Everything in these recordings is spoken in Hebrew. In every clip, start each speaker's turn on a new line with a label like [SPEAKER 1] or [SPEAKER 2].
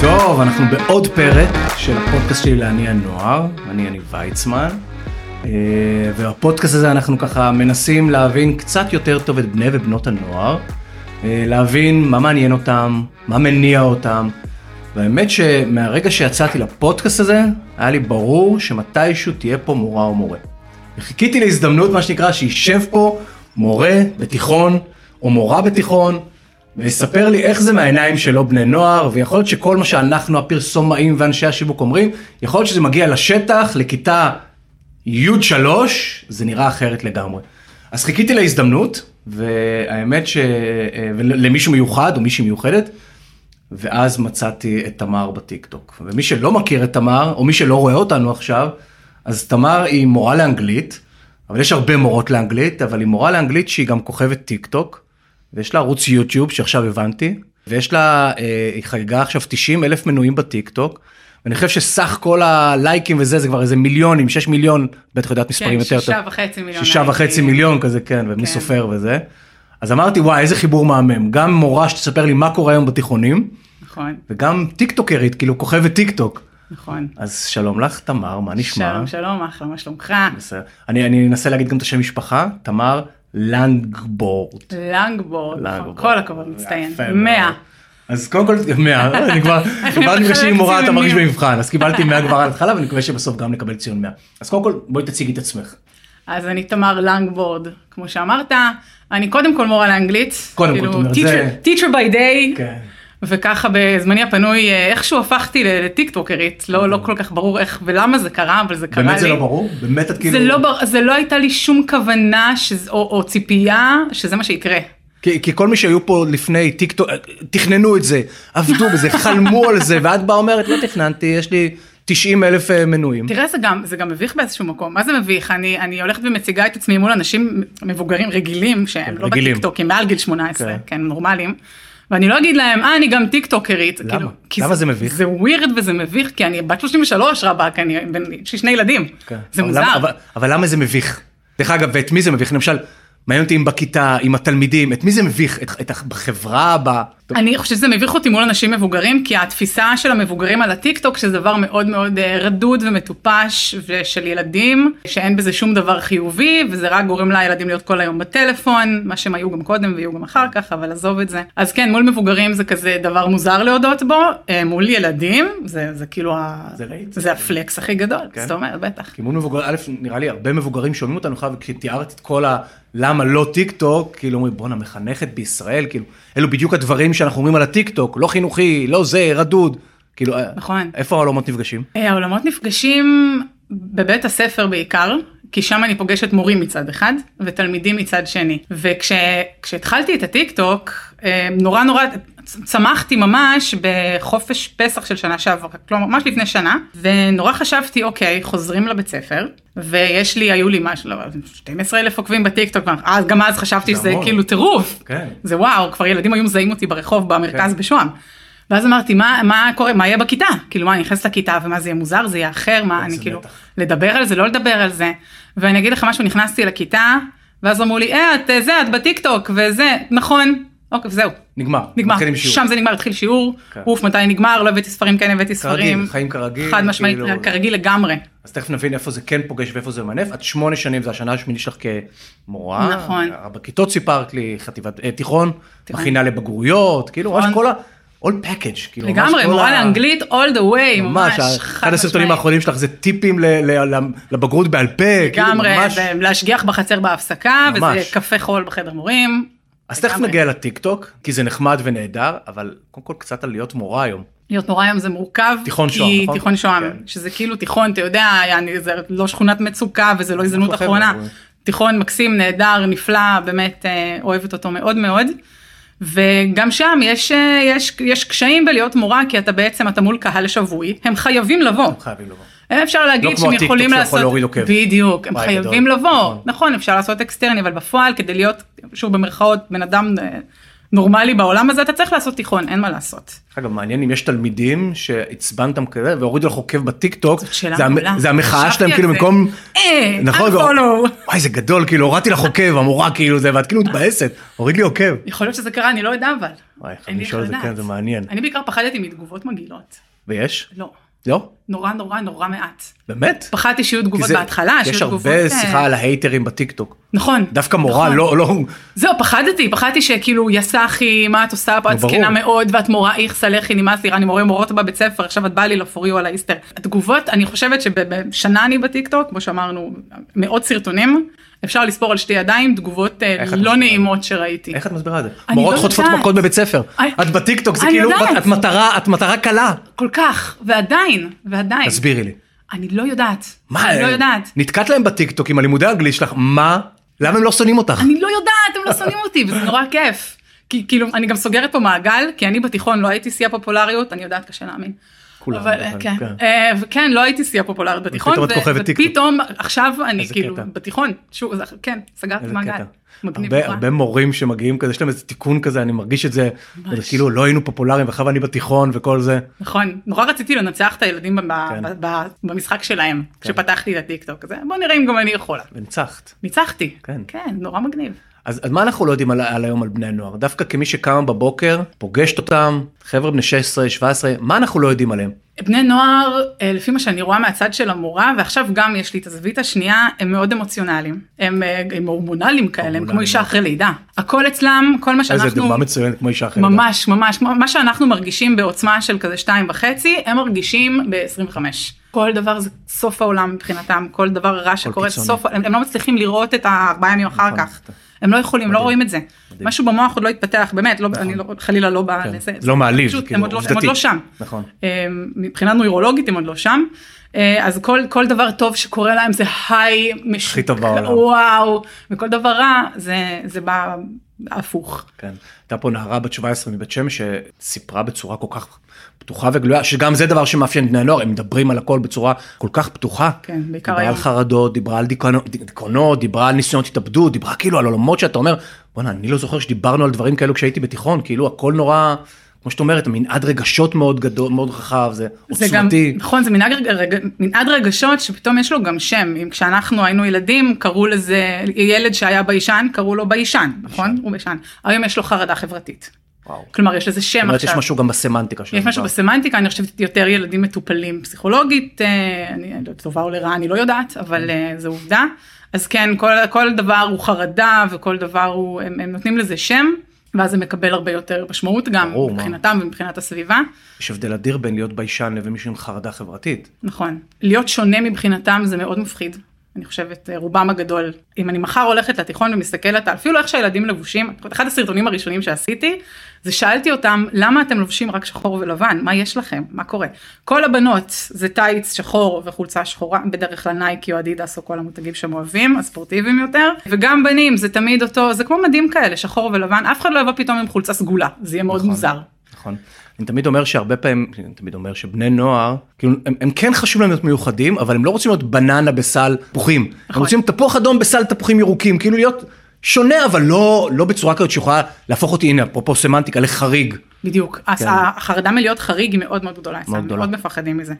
[SPEAKER 1] טוב, אנחנו בעוד פרק של הפודקאסט שלי להניע נוער, אני יניב ויצמן, אה, ובפודקאסט הזה אנחנו ככה מנסים להבין קצת יותר טוב את בני ובנות הנוער, אה, להבין מה מעניין אותם, מה מניע אותם, והאמת שמהרגע שיצאתי לפודקאסט הזה, היה לי ברור שמתישהו תהיה פה מורה או מורה. וחיכיתי להזדמנות, מה שנקרא, שישב פה מורה בתיכון, או מורה בתיכון, ויספר לי איך זה מהעיניים שלו בני נוער, ויכול להיות שכל מה שאנחנו הפרסומאים ואנשי השיווק אומרים, יכול להיות שזה מגיע לשטח, לכיתה י3, זה נראה אחרת לגמרי. אז חיכיתי להזדמנות, והאמת ש... למישהו מיוחד או מישהי מיוחדת, ואז מצאתי את תמר בטיקטוק. ומי שלא מכיר את תמר, או מי שלא רואה אותנו עכשיו, אז תמר היא מורה לאנגלית, אבל יש הרבה מורות לאנגלית, אבל היא מורה לאנגלית שהיא גם כוכבת טיקטוק, ויש לה ערוץ יוטיוב שעכשיו הבנתי, ויש לה, אה, היא חגגה עכשיו 90 אלף מנויים בטיקטוק, ואני חושב שסך כל הלייקים וזה, זה כבר איזה מיליונים, 6 מיליון, בטח יודעת מספרים יותר
[SPEAKER 2] כן, שישה וחצי מיליון
[SPEAKER 1] שישה וחצי
[SPEAKER 2] לייקים.
[SPEAKER 1] מיליון כזה, כן, ומי
[SPEAKER 2] כן.
[SPEAKER 1] סופר וזה. אז אמרתי, וואי, איזה חיבור מהמם. גם מורה שתספר לי מה קורה היום בתיכונים,
[SPEAKER 2] נכון,
[SPEAKER 1] וגם טיקטוקרית, כאילו כוכבת טיקטוק.
[SPEAKER 2] נכון.
[SPEAKER 1] אז שלום לך, תמר, מה נשמע?
[SPEAKER 2] שלום, שלום, אחלה, מה שלומך?
[SPEAKER 1] בסדר. אני, אני אנסה להגיד גם את השם משפחה, תמר לנגבורד.
[SPEAKER 2] לנגבורד, נכון,
[SPEAKER 1] לנגבורד.
[SPEAKER 2] כל הכבוד, מצטיין.
[SPEAKER 1] יפה מאוד.
[SPEAKER 2] מאה.
[SPEAKER 1] אז קודם כל, 100, אני כבר, כבר נפגשתי עם מורה, אתה
[SPEAKER 2] ציונים.
[SPEAKER 1] מרגיש במבחן, אז קיבלתי 100 כבר על התחלה, ואני מקווה שבסוף גם נקבל ציון 100. אז קודם כל, בואי תציגי את עצמך.
[SPEAKER 2] אז אני תמר לנגבורד, כמו שאמרת. אני קודם כל מורה לאנגלית.
[SPEAKER 1] קודם כל,
[SPEAKER 2] כאילו,
[SPEAKER 1] זאת אומרת,
[SPEAKER 2] teacher-
[SPEAKER 1] זה-
[SPEAKER 2] teacher by day.
[SPEAKER 1] כן.
[SPEAKER 2] וככה בזמני הפנוי אה, איכשהו הפכתי לטיקטוקרית, לא לא כל כך ברור איך ולמה זה קרה, אבל זה קרה לי.
[SPEAKER 1] אוקיי. באמת זה לא ברור? באמת את כאילו...
[SPEAKER 2] זה לא בר... זה לא הייתה לי שום כוונה שזה- או או ציפייה שזה מה שיקרה.
[SPEAKER 1] כי, כי כל מי שהיו פה לפני טיקטוק, אה, תכננו את זה, עבדו בזה, חלמו על זה, ואת באה אומרת, לא תכננתי, יש לי 90 אלף אה, מנויים.
[SPEAKER 2] תראה, זה גם, זה גם מביך באיזשהו מקום. מה זה מביך? אני, אני הולכת ומציגה את עצמי מול אנשים מבוגרים רגילים, שהם לא
[SPEAKER 1] כן, רגילים.
[SPEAKER 2] בטיקטוק, הם מעל גיל 18,
[SPEAKER 1] כן.
[SPEAKER 2] כן, כן נורמלים. ואני לא אגיד להם, אה, אני גם טיקטוקרית. כאילו,
[SPEAKER 1] למה? למה זה מביך?
[SPEAKER 2] זה ווירד וזה מביך, כי אני בת 33 רבאק, אני בן- יש לי שני ילדים.
[SPEAKER 1] כן.
[SPEAKER 2] זה
[SPEAKER 1] אבל
[SPEAKER 2] מוזר.
[SPEAKER 1] למה, אבל, אבל למה זה מביך? דרך אגב, ואת מי זה מביך? למשל, מעניין אותי אם בכיתה, עם התלמידים, את מי זה מביך? את, את, ה- בחברה, ב...
[SPEAKER 2] אני חושבת שזה מביך אותי מול אנשים מבוגרים, כי התפיסה של המבוגרים על הטיקטוק, שזה דבר מאוד מאוד אה, רדוד ומטופש, ושל ילדים, שאין בזה שום דבר חיובי, וזה רק גורם לילדים להיות כל היום בטלפון, מה שהם היו גם קודם ויהיו גם אחר כך, אבל עזוב את זה. אז כן, מול מבוגרים זה כזה דבר מוזר להודות בו, אה, מול ילדים, זה, זה כאילו, ה...
[SPEAKER 1] זה להיט.
[SPEAKER 2] זה הפלקס הכי גדול,
[SPEAKER 1] כן.
[SPEAKER 2] זאת אומרת, בטח.
[SPEAKER 1] כי מול מבוגרים, א', נראה לי הרבה מבוגרים שומעים אותנו עכשיו, כשתיארת את כל ה... למה לא טיקטוק, כאילו אומרים, בואנה, מחנכת בישראל, כאילו, אלו בדיוק הדברים שאנחנו אומרים על הטיקטוק, לא חינוכי, לא זה, רדוד. כאילו, אה,
[SPEAKER 2] נכון.
[SPEAKER 1] איפה העולמות נפגשים?
[SPEAKER 2] אה, העולמות נפגשים בבית הספר בעיקר, כי שם אני פוגשת מורים מצד אחד ותלמידים מצד שני. וכשהתחלתי את הטיקטוק, אה, נורא נורא צ- צמחתי ממש בחופש פסח של שנה שעברה, כלומר ממש לפני שנה, ונורא חשבתי, אוקיי, חוזרים לבית ספר, ויש לי, היו לי משהו, לא, 12 אלף עוקבים בטיקטוק, אז- גם אז חשבתי
[SPEAKER 1] זה
[SPEAKER 2] שזה
[SPEAKER 1] המון.
[SPEAKER 2] כאילו טירוף,
[SPEAKER 1] כן.
[SPEAKER 2] זה וואו, כבר ילדים היו מזהים אותי ברחוב במרכז
[SPEAKER 1] כן.
[SPEAKER 2] בשוהם. ואז אמרתי, מה, מה קורה, מה יהיה בכיתה? כאילו, מה, אני נכנסת לכיתה ומה זה יהיה מוזר, זה יהיה אחר, מה, אני
[SPEAKER 1] כן, זה
[SPEAKER 2] כאילו,
[SPEAKER 1] מתח.
[SPEAKER 2] לדבר על זה, לא לדבר על זה. ואני אגיד לך משהו, נכנסתי לכיתה, ואז אמרו לי, אה, את אה, זה, את בטיקטוק, וזה, נכון, אוקיי, זהו,
[SPEAKER 1] נגמר.
[SPEAKER 2] נגמר.
[SPEAKER 1] מתחילים שיעור.
[SPEAKER 2] שם זה נגמר, התחיל שיעור,
[SPEAKER 1] כן.
[SPEAKER 2] אוף, מתי נגמר, לא הבאתי ספרים, כן הבאתי ספרים.
[SPEAKER 1] חיים כרגיל,
[SPEAKER 2] חד משמעית,
[SPEAKER 1] כאילו-
[SPEAKER 2] כרגיל לגמרי.
[SPEAKER 1] אז תכף נבין איפה זה כן פוגש ואיפה זה ממנף. את שמונה שנים, זו השנה השמינית שלך כמורה. אה,
[SPEAKER 2] נכון.
[SPEAKER 1] בכיתות סיפרת לי, חטיבת, אה, תיכון,
[SPEAKER 2] תיכון.
[SPEAKER 1] מכינה לבגרויות, כאילו, ממש
[SPEAKER 2] תיכון.
[SPEAKER 1] כל ה... all package. כאילו, ממש
[SPEAKER 2] לגמרי,
[SPEAKER 1] כל
[SPEAKER 2] מורה
[SPEAKER 1] ה-
[SPEAKER 2] לאנגלית, all the way, ממש,
[SPEAKER 1] ה-
[SPEAKER 2] חד
[SPEAKER 1] אחד הסרטונים
[SPEAKER 2] משמעית.
[SPEAKER 1] האחרונים שלך זה טיפים ל- ל- ל- לבגרות בעל פה. כאילו,
[SPEAKER 2] לגמרי,
[SPEAKER 1] ממש.
[SPEAKER 2] ו- להשגיח בחצר בהפסקה, וזה
[SPEAKER 1] ממש.
[SPEAKER 2] קפה חול בחדר מורים.
[SPEAKER 1] אז תכף
[SPEAKER 2] לגמרי.
[SPEAKER 1] נגיע לטיקטוק, כי זה נחמד ונהדר, אבל קודם כל קצת על להיות מורה היום.
[SPEAKER 2] להיות נורא היום זה מורכב,
[SPEAKER 1] תיכון
[SPEAKER 2] כי-
[SPEAKER 1] שוהם, נכון?
[SPEAKER 2] תיכון שוהם,
[SPEAKER 1] כן.
[SPEAKER 2] שזה כאילו תיכון, אתה יודע, יעני, זה לא שכונת מצוקה וזה לא הזדמנות
[SPEAKER 1] אחר,
[SPEAKER 2] אחרונה,
[SPEAKER 1] אבל-
[SPEAKER 2] תיכון מקסים, נהדר, נפלא, באמת אה, אוהבת אותו מאוד מאוד, וגם שם יש, אה, יש, יש קשיים בלהיות מורה, כי אתה בעצם, אתה מול קהל שבוי, הם חייבים לבוא,
[SPEAKER 1] חייבים לומר.
[SPEAKER 2] הם אפשר להגיד
[SPEAKER 1] לא כמו
[SPEAKER 2] שהם
[SPEAKER 1] הטיקטוק
[SPEAKER 2] יכולים
[SPEAKER 1] שיכול
[SPEAKER 2] לעשות,
[SPEAKER 1] להוריד עוקב.
[SPEAKER 2] בדיוק, הם
[SPEAKER 1] וואי,
[SPEAKER 2] חייבים
[SPEAKER 1] גדול.
[SPEAKER 2] לבוא,
[SPEAKER 1] נכון.
[SPEAKER 2] נכון, אפשר לעשות אקסטרני, אבל בפועל כדי להיות, שוב במרכאות, בן אדם אה, נורמלי בעולם הזה, אתה צריך לעשות תיכון, אין מה לעשות.
[SPEAKER 1] אגב, מעניין אם יש תלמידים שעצבנתם כזה והורידו לך עוקב בטיקטוק,
[SPEAKER 2] זאת שאלה
[SPEAKER 1] זה המ-
[SPEAKER 2] מעולה.
[SPEAKER 1] זה המחאה
[SPEAKER 2] חשבתי
[SPEAKER 1] שלהם
[SPEAKER 2] על
[SPEAKER 1] כאילו
[SPEAKER 2] זה.
[SPEAKER 1] במקום,
[SPEAKER 2] אה,
[SPEAKER 1] נכון,
[SPEAKER 2] unfollow.
[SPEAKER 1] גם- וואי זה גדול, כאילו הורדתי לך עוקב, המורה כאילו זה, ואת כאילו מתבאסת, הוריד לי עוקב.
[SPEAKER 2] יכול להיות שזה קרה, אני לא יודע אבל.
[SPEAKER 1] וואי, איך
[SPEAKER 2] אין לי
[SPEAKER 1] לשאול את זה,
[SPEAKER 2] לדעת.
[SPEAKER 1] כן, זה מעניין.
[SPEAKER 2] אני בעיקר פחדתי מתגובות מגעילות.
[SPEAKER 1] ויש?
[SPEAKER 2] לא.
[SPEAKER 1] לא?
[SPEAKER 2] נורא נורא נורא מעט.
[SPEAKER 1] באמת?
[SPEAKER 2] פחדתי שיהיו
[SPEAKER 1] כי
[SPEAKER 2] תגובות
[SPEAKER 1] זה-
[SPEAKER 2] בהתחלה,
[SPEAKER 1] יש
[SPEAKER 2] שיהיו תגובות...
[SPEAKER 1] הרבה
[SPEAKER 2] אה,
[SPEAKER 1] שיחה על ההייטרים בטיקטוק.
[SPEAKER 2] נכון.
[SPEAKER 1] דווקא מורה
[SPEAKER 2] נכון.
[SPEAKER 1] לא, לא,
[SPEAKER 2] זהו, פחדתי, פחדתי שכאילו, יא סאחי, מה את עושה פה, את
[SPEAKER 1] לא, ברור.
[SPEAKER 2] זקנה מאוד, ואת מורה איכס עליכי, נמאס לי, אני מורה מורות בבית ספר, עכשיו את באה לי לפוריו על האיסטר. התגובות, אני חושבת שבשנה אני בטיקטוק, כמו שאמרנו, מאות סרטונים, אפשר לספור על שתי ידיים תגובות אה,
[SPEAKER 1] איך את
[SPEAKER 2] לא
[SPEAKER 1] מסבירה?
[SPEAKER 2] נעימות שראיתי.
[SPEAKER 1] איך את מסבירה את זה?
[SPEAKER 2] אני
[SPEAKER 1] מורות
[SPEAKER 2] לא
[SPEAKER 1] חוטפות
[SPEAKER 2] יודעת.
[SPEAKER 1] מכות בבית ספר.
[SPEAKER 2] אני-
[SPEAKER 1] את בטיקטוק, זה
[SPEAKER 2] אני
[SPEAKER 1] כאילו,
[SPEAKER 2] יודעת.
[SPEAKER 1] את מטרה, את מטרה קלה.
[SPEAKER 2] כל כך, ועדיין, ועדיין.
[SPEAKER 1] תסבירי לי.
[SPEAKER 2] אני לא יודעת.
[SPEAKER 1] מה,
[SPEAKER 2] אני לא
[SPEAKER 1] אה,
[SPEAKER 2] יודעת.
[SPEAKER 1] נתקעת להם בטיקטוק עם הלימודי האנגלית שלך, מה? למה הם לא שונאים אותך?
[SPEAKER 2] אני לא יודעת, הם לא שונאים אותי, וזה נורא כיף. כי כאילו, אני גם סוגרת פה מעגל, כי אני בתיכון לא הייתי שיא הפופולריות, אני יודעת, קשה להאמין.
[SPEAKER 1] כולם,
[SPEAKER 2] אבל,
[SPEAKER 1] אבל,
[SPEAKER 2] כן.
[SPEAKER 1] כן.
[SPEAKER 2] אה, וכן, לא הייתי שיא הפופולרית בתיכון,
[SPEAKER 1] ופתאום את
[SPEAKER 2] ו-
[SPEAKER 1] כוכבת טיקטוק.
[SPEAKER 2] ופתאום עכשיו אני
[SPEAKER 1] איזה
[SPEAKER 2] כאילו
[SPEAKER 1] קטע.
[SPEAKER 2] בתיכון, שוב, זה- כן, סגרתי
[SPEAKER 1] איזה
[SPEAKER 2] מעגל.
[SPEAKER 1] קטע.
[SPEAKER 2] מגניב
[SPEAKER 1] הרבה,
[SPEAKER 2] נורא.
[SPEAKER 1] הרבה מורים שמגיעים כזה, יש להם איזה תיקון כזה, אני מרגיש את זה,
[SPEAKER 2] ממש.
[SPEAKER 1] זה כאילו לא היינו פופולריים, ואחר אני בתיכון וכל זה.
[SPEAKER 2] נכון, נורא רציתי לנצח את הילדים ב- ב-
[SPEAKER 1] כן.
[SPEAKER 2] ב- ב- במשחק שלהם,
[SPEAKER 1] כן.
[SPEAKER 2] כשפתחתי את הטיקטוק הזה, בוא נראה אם גם אני יכולה.
[SPEAKER 1] וניצחת.
[SPEAKER 2] ניצחתי,
[SPEAKER 1] כן.
[SPEAKER 2] כן, נורא מגניב.
[SPEAKER 1] אז, אז מה אנחנו לא יודעים על, על היום על בני הנוער? דווקא כמי שקמה בבוקר, פוגשת אותם, חבר'ה בני 16, 17, מה אנחנו לא יודעים עליהם?
[SPEAKER 2] בני נוער, אה, לפי מה שאני רואה מהצד של המורה, ועכשיו גם יש לי את הזווית השנייה, הם מאוד אמוציונליים. הם, אה, הם הורמונליים כאלה, הם
[SPEAKER 1] הורמונליים.
[SPEAKER 2] כמו אישה אחרי לידה. הכל אצלם, כל מה
[SPEAKER 1] איזה
[SPEAKER 2] שאנחנו...
[SPEAKER 1] דוגמה מצוינת כמו אישה אחרת.
[SPEAKER 2] ממש, ממש, מה שאנחנו מרגישים בעוצמה של כזה שתיים וחצי, הם מרגישים ב-25. כל דבר זה סוף העולם מבחינתם, כל דבר רע שקורה,
[SPEAKER 1] קיצוני.
[SPEAKER 2] סוף, הם, הם לא מצליחים לראות את הארבעה ימים אחר
[SPEAKER 1] נכון.
[SPEAKER 2] כך. הם לא יכולים, לא
[SPEAKER 1] מדהים.
[SPEAKER 2] רואים את זה.
[SPEAKER 1] מדהים.
[SPEAKER 2] משהו במוח עוד לא התפתח, באמת, לא, אני לא, חלילה לא באה
[SPEAKER 1] כן.
[SPEAKER 2] לזה.
[SPEAKER 1] זה לא מעליב,
[SPEAKER 2] פשוט,
[SPEAKER 1] כאילו,
[SPEAKER 2] הם, עוד לא, הם עוד
[SPEAKER 1] עובדתית.
[SPEAKER 2] לא שם.
[SPEAKER 1] נכון.
[SPEAKER 2] אה, מבחינה נוירולוגית הם עוד לא שם. אה, אז כל, כל דבר טוב שקורה להם זה היי משוק,
[SPEAKER 1] טוב בעולם.
[SPEAKER 2] וואו, וכל דבר רע זה, זה בא הפוך.
[SPEAKER 1] כן. הייתה פה נערה בת 17 מבית שמש שסיפרה בצורה כל כך פתוחה וגלויה, שגם זה דבר שמאפיין בני הנוער, הם מדברים על הכל בצורה כל כך פתוחה.
[SPEAKER 2] כן, בעיקר
[SPEAKER 1] דיברה על
[SPEAKER 2] היום.
[SPEAKER 1] חרדות, דיברה על דיכאונות- דיכאונות, דיברה על ניסיונות התאבדות, דיברה כאילו על עולמות שאתה אומר, בואנה, אני לא זוכר שדיברנו על דברים כאלו כשהייתי בתיכון, כאילו הכל נורא, כמו שאת אומרת, מנעד רגשות מאוד גדול, מאוד רחב, זה
[SPEAKER 2] זה גם,
[SPEAKER 1] עוצמתי.
[SPEAKER 2] נכון, זה מנעד, רג, רג, מנעד רגשות שפתאום יש לו גם שם. אם כשאנחנו היינו ילדים, קראו לזה, ילד שהיה ביישן, קראו לו ביישן, נכון? הוא ביישן. היום יש לו חרדה חברתית.
[SPEAKER 1] וואו.
[SPEAKER 2] כלומר, יש לזה שם
[SPEAKER 1] זאת אומרת, יש
[SPEAKER 2] עכשיו.
[SPEAKER 1] משהו אה, גם בסמנטיקה שלנו.
[SPEAKER 2] נכון. יש משהו בסמנטיקה, אני חושבת יותר ילדים מטופלים פסיכולוגית, אה, אני אני לא יודעת, טובה או לרעה, אני לא יודעת, אבל אה, זו עובדה. אז כן, כל, כל דבר הוא חרדה וכל דבר הוא, הם, הם נותנים לזה שם, ואז זה מקבל הרבה יותר משמעות גם,
[SPEAKER 1] ברור, מה.
[SPEAKER 2] מבחינתם ומבחינת הסביבה.
[SPEAKER 1] יש הבדל אדיר בין להיות ביישן לבין מישהו עם חרדה חברתית.
[SPEAKER 2] נכון. להיות שונה מבחינתם זה מאוד מפחיד. אני חושבת, אה, רובם הגדול. אם אני מחר הולכת לתיכון ומסתכלת על אפילו איך שהילדים לבושים, אחד הסרטונים הראשונים שעשיתי, זה שאלתי אותם, למה אתם לובשים רק שחור ולבן? מה יש לכם? מה קורה? כל הבנות זה טייץ שחור וחולצה שחורה, בדרך כלל נייקי או אדידס או כל המותגים שהם אוהבים, הספורטיביים יותר, וגם בנים זה תמיד אותו, זה כמו מדים כאלה, שחור ולבן, אף אחד לא יבוא פתאום עם חולצה סגולה, זה יהיה מאוד
[SPEAKER 1] נכון.
[SPEAKER 2] מוזר.
[SPEAKER 1] נכון. אני תמיד אומר שהרבה פעמים, אני תמיד אומר שבני נוער, כאילו הם, הם כן חשוב להם להיות מיוחדים, אבל הם לא רוצים להיות בננה בסל תפוחים. הם
[SPEAKER 2] נכון.
[SPEAKER 1] רוצים תפוח אדום בסל תפוחים ירוקים, כאילו להיות שונה, אבל לא, לא בצורה כזאת שיכולה להפוך אותי, הנה, אפרופו סמנטיקה, לחריג.
[SPEAKER 2] בדיוק, אז
[SPEAKER 1] כן.
[SPEAKER 2] החרדה מלהיות חריג היא מאוד מאוד גדולה,
[SPEAKER 1] מאוד
[SPEAKER 2] אצלם,
[SPEAKER 1] גדולה.
[SPEAKER 2] מאוד מפחדים מזה.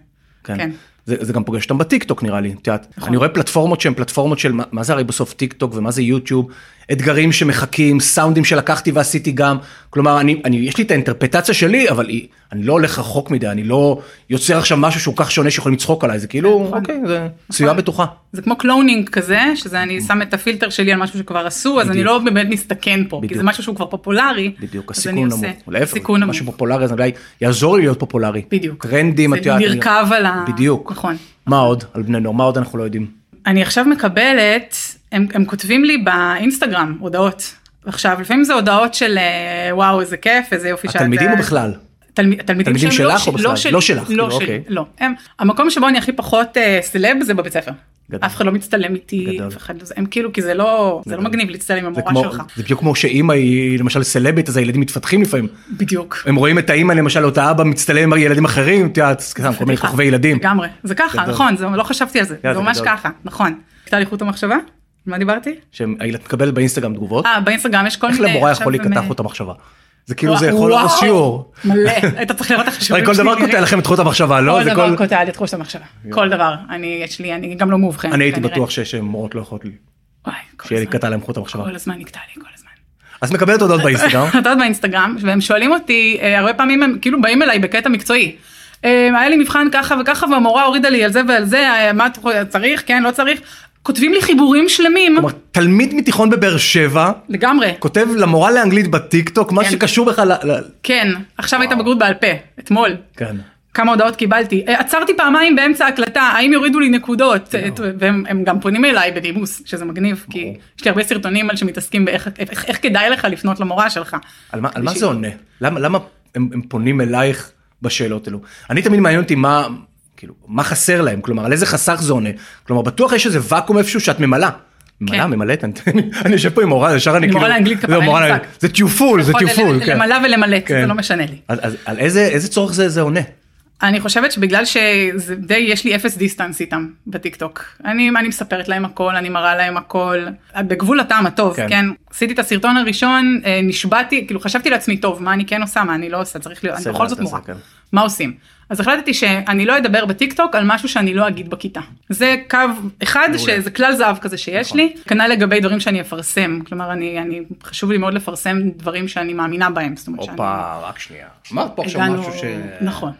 [SPEAKER 1] כן.
[SPEAKER 2] כן. נכון.
[SPEAKER 1] זה, זה גם פוגש אותם בטיקטוק נראה לי, את יודעת, אני רואה פלטפורמות שהן פלטפורמות של מה, מה זה הרי בסוף טיקטוק ומה זה יוטיוב, אתגרים שמחכים, סאונדים שלקחתי ועשיתי גם, כלומר אני, אני יש לי את האינטרפטציה שלי אבל היא, אני לא הולך רחוק מדי, אני לא יוצר עכשיו משהו שהוא כך שונה שיכולים לצחוק עליי, זה כאילו,
[SPEAKER 2] נכון.
[SPEAKER 1] אוקיי, זה סביבה בטוחה.
[SPEAKER 2] זה כמו קלונינג כזה, שזה אני שם את הפילטר שלי על משהו שכבר עשו, אז אני
[SPEAKER 1] בדיוק.
[SPEAKER 2] לא באמת מסתכן פה, כי
[SPEAKER 1] בדיוק.
[SPEAKER 2] זה משהו שהוא כבר פופולרי.
[SPEAKER 1] בדיוק,
[SPEAKER 2] אז
[SPEAKER 1] הסיכון
[SPEAKER 2] אני
[SPEAKER 1] נמוך,
[SPEAKER 2] עושה.
[SPEAKER 1] להפך,
[SPEAKER 2] סיכון נמוך,
[SPEAKER 1] משהו פופולרי, אז אולי יעזור לי להיות פופולרי.
[SPEAKER 2] בדיוק.
[SPEAKER 1] טרנדים,
[SPEAKER 2] זה
[SPEAKER 1] את יודעת, אני-
[SPEAKER 2] נרכב על ה...
[SPEAKER 1] בדיוק.
[SPEAKER 2] נכון.
[SPEAKER 1] מה עוד על בני נוער, מה עוד אנחנו לא יודעים?
[SPEAKER 2] אני עכשיו מקבלת, הם, הם כותבים לי באינסטגרם הודעות. עכשיו, לפעמים זה הודעות של אה, וואו, איזה כיף, איזה יופי שאת...
[SPEAKER 1] התלמידים או
[SPEAKER 2] אה,
[SPEAKER 1] בכלל?
[SPEAKER 2] תלמיד, תלמידים,
[SPEAKER 1] תלמידים
[SPEAKER 2] שהם
[SPEAKER 1] שלך
[SPEAKER 2] ש-
[SPEAKER 1] או בכלל?
[SPEAKER 2] שלי,
[SPEAKER 1] לא שלך, כאילו,
[SPEAKER 2] לא שלי,
[SPEAKER 1] אוקיי.
[SPEAKER 2] לא. הם, המקום שבו אני הכי פחות אה, סלב זה בבית ספר.
[SPEAKER 1] גדול.
[SPEAKER 2] אף אחד לא מצטלם איתי,
[SPEAKER 1] גדול.
[SPEAKER 2] אף אחד לא זה, הם כאילו, כי זה לא, זה לא
[SPEAKER 1] גדול.
[SPEAKER 2] מגניב להצטלם עם
[SPEAKER 1] זה
[SPEAKER 2] המורה
[SPEAKER 1] כמו,
[SPEAKER 2] שלך.
[SPEAKER 1] זה בדיוק כמו שאימא היא למשל סלבית אז הילדים מתפתחים לפעמים.
[SPEAKER 2] בדיוק.
[SPEAKER 1] הם רואים את האימא למשל, או את האבא מצטלם עם ילדים אחרים, את יודעת, סתם, כל מיני
[SPEAKER 2] פדיחה.
[SPEAKER 1] כוכבי ילדים.
[SPEAKER 2] לגמרי, זה ככה,
[SPEAKER 1] גדול.
[SPEAKER 2] נכון, זה- לא חשבתי על זה,
[SPEAKER 1] יאללה,
[SPEAKER 2] זה
[SPEAKER 1] זה
[SPEAKER 2] ממש
[SPEAKER 1] גדול.
[SPEAKER 2] ככה, נכון. הייתה לי חוט המחשבה? מה דיברתי?
[SPEAKER 1] שאת מקבלת באינסטגרם תגובות,
[SPEAKER 2] אה, באינסטגרם יש כל
[SPEAKER 1] איך
[SPEAKER 2] מיני...
[SPEAKER 1] למורה
[SPEAKER 2] עכשיו
[SPEAKER 1] יכול להיקטע
[SPEAKER 2] אני-
[SPEAKER 1] חוט המחשבה. זה כאילו
[SPEAKER 2] וואו,
[SPEAKER 1] זה יכול לעשות שיעור.
[SPEAKER 2] מלא, היית צריך לראות איך
[SPEAKER 1] הרי
[SPEAKER 2] השיעורים
[SPEAKER 1] כל
[SPEAKER 2] שלי
[SPEAKER 1] דבר
[SPEAKER 2] נראים.
[SPEAKER 1] קוטע לכם את חוט המחשבה, לא?
[SPEAKER 2] כל
[SPEAKER 1] זה
[SPEAKER 2] דבר קוטע לי את חוש המחשבה. כל דבר. אני, יש לי, אני גם לא מאובחנת.
[SPEAKER 1] אני הייתי
[SPEAKER 2] כנראה.
[SPEAKER 1] בטוח שיש מורות לא יכולות לי,
[SPEAKER 2] וואי, כל
[SPEAKER 1] שיהיה לי
[SPEAKER 2] הזמן.
[SPEAKER 1] קטע להם חוט המחשבה.
[SPEAKER 2] כל הזמן נקטע לי, כל הזמן.
[SPEAKER 1] אז מקבלת הודעות באינסטגרם.
[SPEAKER 2] את יודעת באינסטגרם, והם שואלים אותי, אה, הרבה פעמים הם כאילו באים אליי בקטע מקצועי. אה, היה לי מבחן ככה וככה והמורה הורידה לי על זה ועל זה, אה, מה את חו- צריך, כן, לא צריך. כותבים לי חיבורים שלמים,
[SPEAKER 1] כלומר, תלמיד מתיכון בבאר שבע
[SPEAKER 2] לגמרי.
[SPEAKER 1] כותב למורה לאנגלית בטיקטוק מה
[SPEAKER 2] כן.
[SPEAKER 1] שקשור בכלל ל... ל-
[SPEAKER 2] כן, עכשיו הייתה בגרות בעל פה, אתמול.
[SPEAKER 1] כן.
[SPEAKER 2] כמה הודעות קיבלתי, "אה, עצרתי פעמיים באמצע ההקלטה, האם יורידו לי נקודות, את- והם הם גם פונים אליי בנימוס, שזה מגניב, כי יש לי הרבה סרטונים על שמתעסקים באיך איך- איך כדאי לך לפנות למורה שלך.
[SPEAKER 1] על מה, על מה זה עונה? למה, למה הם, הם פונים אלייך בשאלות האלו? אני תמיד מעניין אותי מה, כאילו, מה חסר להם, כלומר, על איזה חסך זה עונה. כלומר, בטוח יש איזה ואקום איפשהו שאת ממלאה. ממלא,
[SPEAKER 2] כן.
[SPEAKER 1] ממלאת, אני, אני יושב פה עם מורה, ישר אני
[SPEAKER 2] עם
[SPEAKER 1] כאילו,
[SPEAKER 2] מורה לאנגלית,
[SPEAKER 1] זה
[SPEAKER 2] כפרה, אין
[SPEAKER 1] מורה
[SPEAKER 2] לי
[SPEAKER 1] לאנגלית.
[SPEAKER 2] מושג.
[SPEAKER 1] זה טיופול, זה
[SPEAKER 2] יכול
[SPEAKER 1] טיופול,
[SPEAKER 2] נכון, ל-
[SPEAKER 1] כן.
[SPEAKER 2] למלא ולמלט,
[SPEAKER 1] כן.
[SPEAKER 2] זה לא משנה לי.
[SPEAKER 1] אז, אז על איזה, איזה צורך זה, זה עונה?
[SPEAKER 2] אני חושבת שבגלל שזה די, יש לי אפס דיסטנס איתם בטיקטוק. אני, אני מספרת להם הכל, אני מראה להם הכל, בגבול הטעם הטוב,
[SPEAKER 1] כן.
[SPEAKER 2] כן. כן? עשיתי את הסרטון הראשון, אה, נשבעתי, כאילו חשבתי לעצמי, טוב, מה אני כן עושה, מה אני לא עושה, צריך להיות, אני
[SPEAKER 1] בסדר,
[SPEAKER 2] בכל זאת
[SPEAKER 1] תעשה,
[SPEAKER 2] מורה.
[SPEAKER 1] כן.
[SPEAKER 2] מה עושים? אז החלטתי שאני לא אדבר בטיקטוק על משהו שאני לא אגיד בכיתה. זה קו אחד, שזה כלל זהב כזה שיש
[SPEAKER 1] נכון.
[SPEAKER 2] לי, כנ"ל לגבי דברים שאני אפרסם. כלומר, אני, אני, חשוב לי מאוד לפרסם דברים שאני מאמינה בהם. זאת אומרת שאני...
[SPEAKER 1] הופה, רק שנייה. אמרת פה עכשיו
[SPEAKER 2] הגענו-
[SPEAKER 1] משהו ש...
[SPEAKER 2] נכון.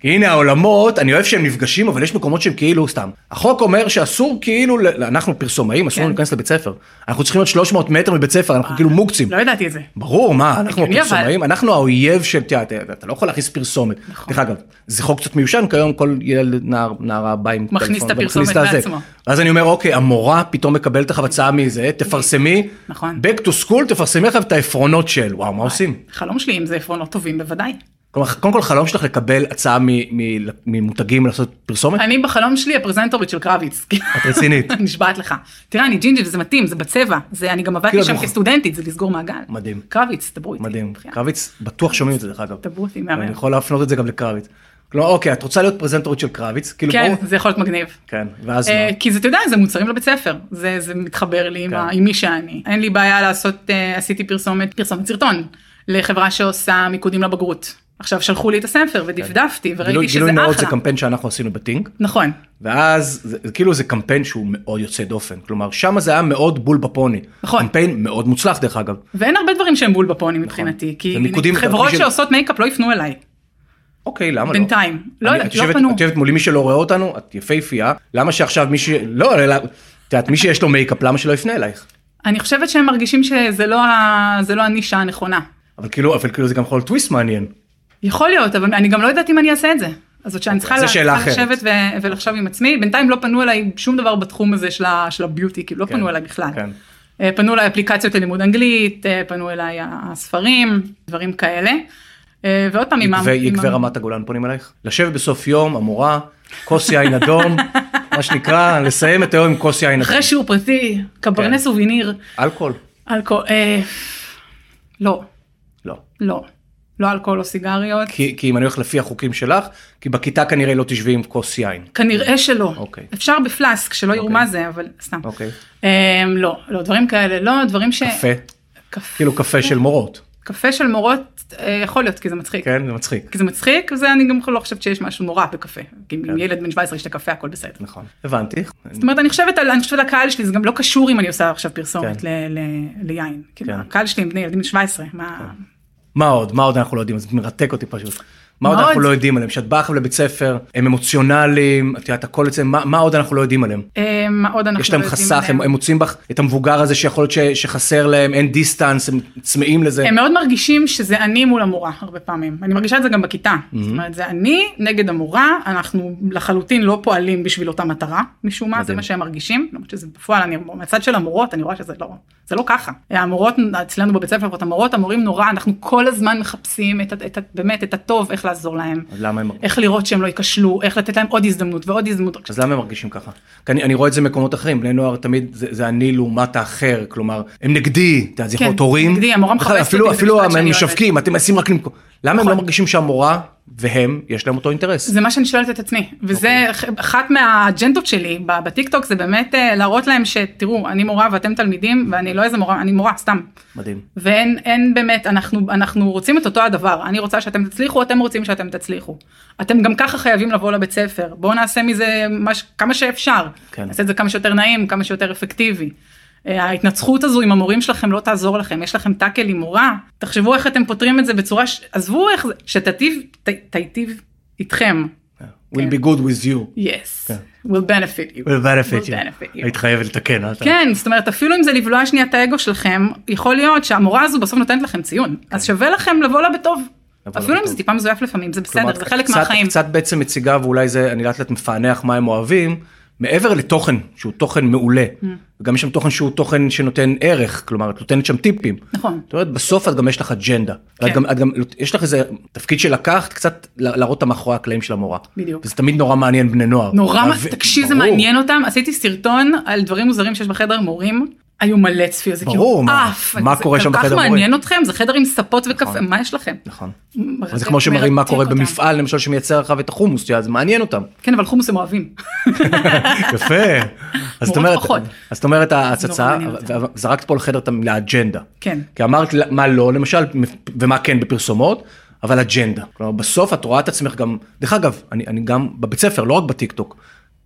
[SPEAKER 1] כי הנה העולמות, אני אוהב שהם נפגשים, אבל יש מקומות שהם כאילו סתם. החוק אומר שאסור כאילו, ל- אנחנו פרסומאים, אסור לנו
[SPEAKER 2] כן.
[SPEAKER 1] להיכנס לבית ספר. אנחנו צריכים להיות 300 מטר מבית ספר, אנחנו כאילו מוקצים.
[SPEAKER 2] לא ידעתי את זה.
[SPEAKER 1] ברור, מה, אנחנו
[SPEAKER 2] הגיוני,
[SPEAKER 1] הפרסומאים, אנחנו האויב של, תראה, אתה- אתה לא יכול להכניס פרסומת.
[SPEAKER 2] נכון.
[SPEAKER 1] דרך אגב, זה חוק קצת מיושן, כיום כל ילד, נער, נערה בא עם
[SPEAKER 2] מכניס
[SPEAKER 1] טלפון
[SPEAKER 2] את הפרסומת
[SPEAKER 1] הזה.
[SPEAKER 2] בעצמו.
[SPEAKER 1] ואז אני אומר, אוקיי, המורה פתאום מקבלת לך הצעה מזה, תפרסמי,
[SPEAKER 2] נכון.
[SPEAKER 1] back to school, תפרסמי עכשיו את העפרונות של, וואו, מה עושים?
[SPEAKER 2] חלום שלי אם זה עפרונות טובים בוודאי.
[SPEAKER 1] כלומר, קודם כל חלום שלך לקבל הצעה מ- מ- ממותגים לעשות פרסומת?
[SPEAKER 2] אני בחלום שלי הפרזנטורית של קרביץ.
[SPEAKER 1] את רצינית.
[SPEAKER 2] נשבעת לך. תראה אני ג'ינג'י וזה מתאים זה בצבע זה אני גם עבדתי
[SPEAKER 1] כאילו,
[SPEAKER 2] שם
[SPEAKER 1] את מוכ-
[SPEAKER 2] כסטודנטית זה לסגור מעגל.
[SPEAKER 1] מדהים.
[SPEAKER 2] קרביץ דברו איתי.
[SPEAKER 1] מדהים.
[SPEAKER 2] בחייאת.
[SPEAKER 1] קרביץ, בטוח שומעים את זה דרך אגב.
[SPEAKER 2] דברו איתי
[SPEAKER 1] אני
[SPEAKER 2] כן. מהמם.
[SPEAKER 1] יכול להפנות את זה גם לקרביץ. כלומר, אוקיי, את רוצה להיות פרזנטורית של קרביץ? כאילו,
[SPEAKER 2] כן
[SPEAKER 1] ברור-
[SPEAKER 2] זה יכול להיות מגניב.
[SPEAKER 1] כן, ואז
[SPEAKER 2] אה,
[SPEAKER 1] מה?
[SPEAKER 2] כי זה, אתה יודע, זה מוצרים לבית ספר, זה, זה מתחבר לי עם,
[SPEAKER 1] כן.
[SPEAKER 2] ה, עם מי שאני. אין לי בעיה לעשות, אה, עשיתי פרסומת, פרסומת סרטון, לחברה שעושה מיקודים לבגרות. עכשיו שלחו לי את הספר
[SPEAKER 1] כן.
[SPEAKER 2] ודפדפתי
[SPEAKER 1] גילוי-
[SPEAKER 2] וראיתי שזה
[SPEAKER 1] גילוי נאות זה
[SPEAKER 2] אחלה.
[SPEAKER 1] קמפיין שאנחנו עשינו בטינק,
[SPEAKER 2] נכון,
[SPEAKER 1] ואז זה זה כאילו זה קמפיין שהוא מאוד יוצא דופן. כלומר, שם זה היה מאוד בול בפוני.
[SPEAKER 2] נכון.
[SPEAKER 1] קמפיין מאוד מוצלח דרך אגב.
[SPEAKER 2] ואין הרבה דברים שהם בול בפוני
[SPEAKER 1] נכון.
[SPEAKER 2] מבחינתי, כי
[SPEAKER 1] ומיקודים-
[SPEAKER 2] חברות
[SPEAKER 1] מי ש-
[SPEAKER 2] שעושות מייקאפ לא יפנו אליי,
[SPEAKER 1] אוקיי, למה לא?
[SPEAKER 2] בינתיים. לא
[SPEAKER 1] אני-
[SPEAKER 2] יודעת,
[SPEAKER 1] את
[SPEAKER 2] לא
[SPEAKER 1] יושבת-
[SPEAKER 2] פנו.
[SPEAKER 1] את יושבת מולי מי שלא רואה אותנו, את יפהפייה, למה שעכשיו מי ש... לא, אלא- את יודעת, מי שיש לו מייקאפ, למה שלא יפנה אלייך?
[SPEAKER 2] אני חושבת שהם מרגישים שזה לא ה- זה לא הנישה הנכונה.
[SPEAKER 1] אבל כאילו, אבל כאילו זה גם יכול להיות טוויסט מעניין.
[SPEAKER 2] יכול להיות, אבל אני גם לא יודעת אם אני אעשה את זה. אז זאת שאני צריכה
[SPEAKER 1] אוקיי, זו
[SPEAKER 2] לה-
[SPEAKER 1] שאלה
[SPEAKER 2] צריכה
[SPEAKER 1] אחרת.
[SPEAKER 2] לשבת ו- ולחשוב עם עצמי. בינתיים לא פנו אליי שום דבר בתחום הזה של ה- של הביוטי, כאילו לא
[SPEAKER 1] כן,
[SPEAKER 2] פנו אליי בכלל.
[SPEAKER 1] כן.
[SPEAKER 2] אה, פנו אליי אפליקציות ללימוד אנגלית, אה, פנו אליי הספרים, דברים כאלה. אה, ועוד פעם, עם ה- עם
[SPEAKER 1] יקבי
[SPEAKER 2] ה-
[SPEAKER 1] רמת הגולן פונים אלייך? לשבת בסוף יום, המורה, כוס יין אדום, מה שנקרא, לסיים את היום עם כוס יין אדום.
[SPEAKER 2] אחרי שיעור פרטי,
[SPEAKER 1] כן.
[SPEAKER 2] קברנס סוביניר,
[SPEAKER 1] אלכוהול?
[SPEAKER 2] אלכוהול, אה, לא,
[SPEAKER 1] לא.
[SPEAKER 2] לא, לא אלכוהול או סיגריות,
[SPEAKER 1] כי כי אם אני הולך לפי החוקים שלך, כי בכיתה כנראה לא תשבי עם כוס יין.
[SPEAKER 2] כנראה שלא,
[SPEAKER 1] אוקיי.
[SPEAKER 2] אפשר בפלאסק שלא יראו
[SPEAKER 1] אוקיי.
[SPEAKER 2] מה זה, אבל סתם,
[SPEAKER 1] אוקיי.
[SPEAKER 2] אה, לא, לא, דברים כאלה, לא, דברים ש...
[SPEAKER 1] קפה,
[SPEAKER 2] קפה,
[SPEAKER 1] כאילו קפה של מורות,
[SPEAKER 2] קפה של מורות אה, יכול להיות כי זה מצחיק,
[SPEAKER 1] כן? זה מצחיק.
[SPEAKER 2] כי זה מצחיק, וזה אני גם לא חושבת שיש משהו נורא בקפה, כי
[SPEAKER 1] כן.
[SPEAKER 2] אם ילד בן 17 ישתה קפה הכל בסדר.
[SPEAKER 1] נכון. הבנתי.
[SPEAKER 2] זאת אומרת אני חושבת על אני חושבת על הקהל שלי זה גם לא קשור אם אני עושה עכשיו פרסומת
[SPEAKER 1] כן.
[SPEAKER 2] ל- ל- ליין. כאילו,
[SPEAKER 1] כן.
[SPEAKER 2] הקהל שלי הם בני ילדים בן 17 מה
[SPEAKER 1] מה עוד? מה עוד אנחנו לא יודעים? זה מרתק אותי פשוט. מה עוד
[SPEAKER 2] מה
[SPEAKER 1] אנחנו
[SPEAKER 2] עוד?
[SPEAKER 1] לא יודעים עליהם? שאת באה עכשיו לבית ספר, הם אמוציונליים, את יודעת, הכל אצלם, מה מה עוד אנחנו לא יודעים עליהם?
[SPEAKER 2] אה, מה עוד אנחנו
[SPEAKER 1] יש להם
[SPEAKER 2] לא יודעים
[SPEAKER 1] חסך,
[SPEAKER 2] עליהם?
[SPEAKER 1] הם, הם מוצאים בך את המבוגר הזה שיכול להיות ש, שחסר להם, אין דיסטנס, הם צמאים לזה.
[SPEAKER 2] הם מאוד מרגישים שזה אני מול המורה הרבה פעמים אני מרגישה את זה גם בכיתה
[SPEAKER 1] Mm-hmm.
[SPEAKER 2] זאת אומרת זה אני נגד המורה אנחנו לחלוטין לא פועלים בשביל אותה מטרה משום מה זה
[SPEAKER 1] מדהים.
[SPEAKER 2] מה שהם מרגישים למרות שזה בפועל אני מהצד של המורות אני רואה שזה לא זה לא ככה המורות אצלנו בבית ספר לפחות המורות המורים נורא אנחנו כל הזמן מחפשים את, ה- את, ה- באמת את הטוב איך לעזור להם
[SPEAKER 1] אז למה הם,
[SPEAKER 2] איך לראות שהם לא ייכשלו איך לתת להם עוד הזדמנות ועוד הזדמנות.
[SPEAKER 1] אז למה הם מרגישים ככה? כי אני, אני רואה את זה במקומות אחרים, בני נוער תמיד זה, זה אני לעומת האחר, כלומר, הם נגדי, אתה יודע, זה יכול
[SPEAKER 2] כן,
[SPEAKER 1] להיות הורים.
[SPEAKER 2] נגדי, המורה
[SPEAKER 1] בכלל,
[SPEAKER 2] מחפשת
[SPEAKER 1] אפילו,
[SPEAKER 2] אותי בבית
[SPEAKER 1] אפילו
[SPEAKER 2] משפט שאני
[SPEAKER 1] הם
[SPEAKER 2] אוהבת.
[SPEAKER 1] משווקים, אתם מנסים רק למכור. למה הם
[SPEAKER 2] נכון.
[SPEAKER 1] לא מרגישים שהמורה והם, יש להם אותו אינטרס?
[SPEAKER 2] זה מה שאני שואלת את עצמי, וזה אח- אחת מהאג'נדות שלי ב- בטיקטוק, זה באמת אה, להראות להם שתראו, אני מורה ואתם תלמידים, ואני לא איזה מורה, אני מורה, סתם.
[SPEAKER 1] מדהים.
[SPEAKER 2] ואין אין באמת, אנחנו, אנחנו רוצים את אותו הדבר, אני רוצה שאתם תצליחו, אתם רוצים שאתם תצליחו. אתם גם ככה חייבים לבוא לבית ספר, בואו נעשה מזה מש, כמה שאפשר.
[SPEAKER 1] כן.
[SPEAKER 2] נעשה את זה כמה שיותר נעים, כמה שיותר אפקטיבי. אה, ההתנצחות הזו עם המורים שלכם לא תעזור לכם, יש לכם טאקל עם מורה, תחשבו איך אתם פותרים את זה בצורה, ש... עזבו איך זה, שתיטיב, ת- תיטיב איתכם.
[SPEAKER 1] will be good with you. כן.
[SPEAKER 2] Yes, will benefit you.
[SPEAKER 1] will benefit
[SPEAKER 2] Will benefit
[SPEAKER 1] you.
[SPEAKER 2] you.
[SPEAKER 1] היית חייבת לתקן, אה?
[SPEAKER 2] כן, זאת אומרת, אפילו אם זה לבלוע שנייה את האגו שלכם, יכול להיות שהמורה הזו בסוף נותנת לכם ציון. אז שווה לכם לבוא לה בטוב.
[SPEAKER 1] כן. לבוא לה
[SPEAKER 2] אפילו אם
[SPEAKER 1] בטוב.
[SPEAKER 2] זה טיפה מזויף לפעמים, זה
[SPEAKER 1] כלומר,
[SPEAKER 2] בסדר, זה חלק
[SPEAKER 1] קצת-
[SPEAKER 2] מהחיים.
[SPEAKER 1] קצת בעצם מציגה, ואולי זה, אני לאט לאט מפענח מה הם אוהבים, מעבר לתוכן שהוא תוכן מעולה.
[SPEAKER 2] Mm.
[SPEAKER 1] וגם יש שם תוכן שהוא תוכן שנותן ערך, כלומר, את נותנת שם טיפים.
[SPEAKER 2] נכון.
[SPEAKER 1] זאת אומרת, בסוף את גם יש לך אג'נדה. ואת
[SPEAKER 2] כן.
[SPEAKER 1] גם- את גם, יש לך איזה תפקיד שלקחת, קצת לה- להראות את המאחורי הקלעים של המורה.
[SPEAKER 2] בדיוק.
[SPEAKER 1] וזה תמיד נורא מעניין בני נוער.
[SPEAKER 2] נורא, מה-
[SPEAKER 1] להבין-
[SPEAKER 2] תקשיב, זה
[SPEAKER 1] ברור.
[SPEAKER 2] מעניין אותם, עשיתי סרטון על דברים מוזרים שיש בחדר מורים. היו מלא צפיות, זה
[SPEAKER 1] ברור,
[SPEAKER 2] כאילו
[SPEAKER 1] מה-
[SPEAKER 2] עף,
[SPEAKER 1] מה
[SPEAKER 2] זה
[SPEAKER 1] קורה שם בחדר
[SPEAKER 2] כל כך
[SPEAKER 1] מורים?
[SPEAKER 2] מעניין אתכם, זה חדר עם ספות וקפה, מה יש לכם?
[SPEAKER 1] נכון.
[SPEAKER 2] מרתק-
[SPEAKER 1] זה כמו שמראים מה
[SPEAKER 2] מרתק
[SPEAKER 1] קורה
[SPEAKER 2] אותם.
[SPEAKER 1] במפעל, למשל, שמייצר לך את החומוס, שנייה, זה מעניין אותם.
[SPEAKER 2] כן, אבל חומוס הם אוהבים.
[SPEAKER 1] יפה. אז את אומרת,
[SPEAKER 2] פחות.
[SPEAKER 1] אז את אומרת
[SPEAKER 2] נורא
[SPEAKER 1] ההצצה,
[SPEAKER 2] לא מעניין אותי.
[SPEAKER 1] ו- ו- זרקת פה לחדר את המילה אג'נדה.
[SPEAKER 2] כן.
[SPEAKER 1] כי אמרת ל- מה לא למשל, ומה כן בפרסומות, אבל אג'נדה. כלומר בסוף את רואה את עצמך גם, דרך אגב, אני, אני גם בבית ספר, לא רק בטיקטוק,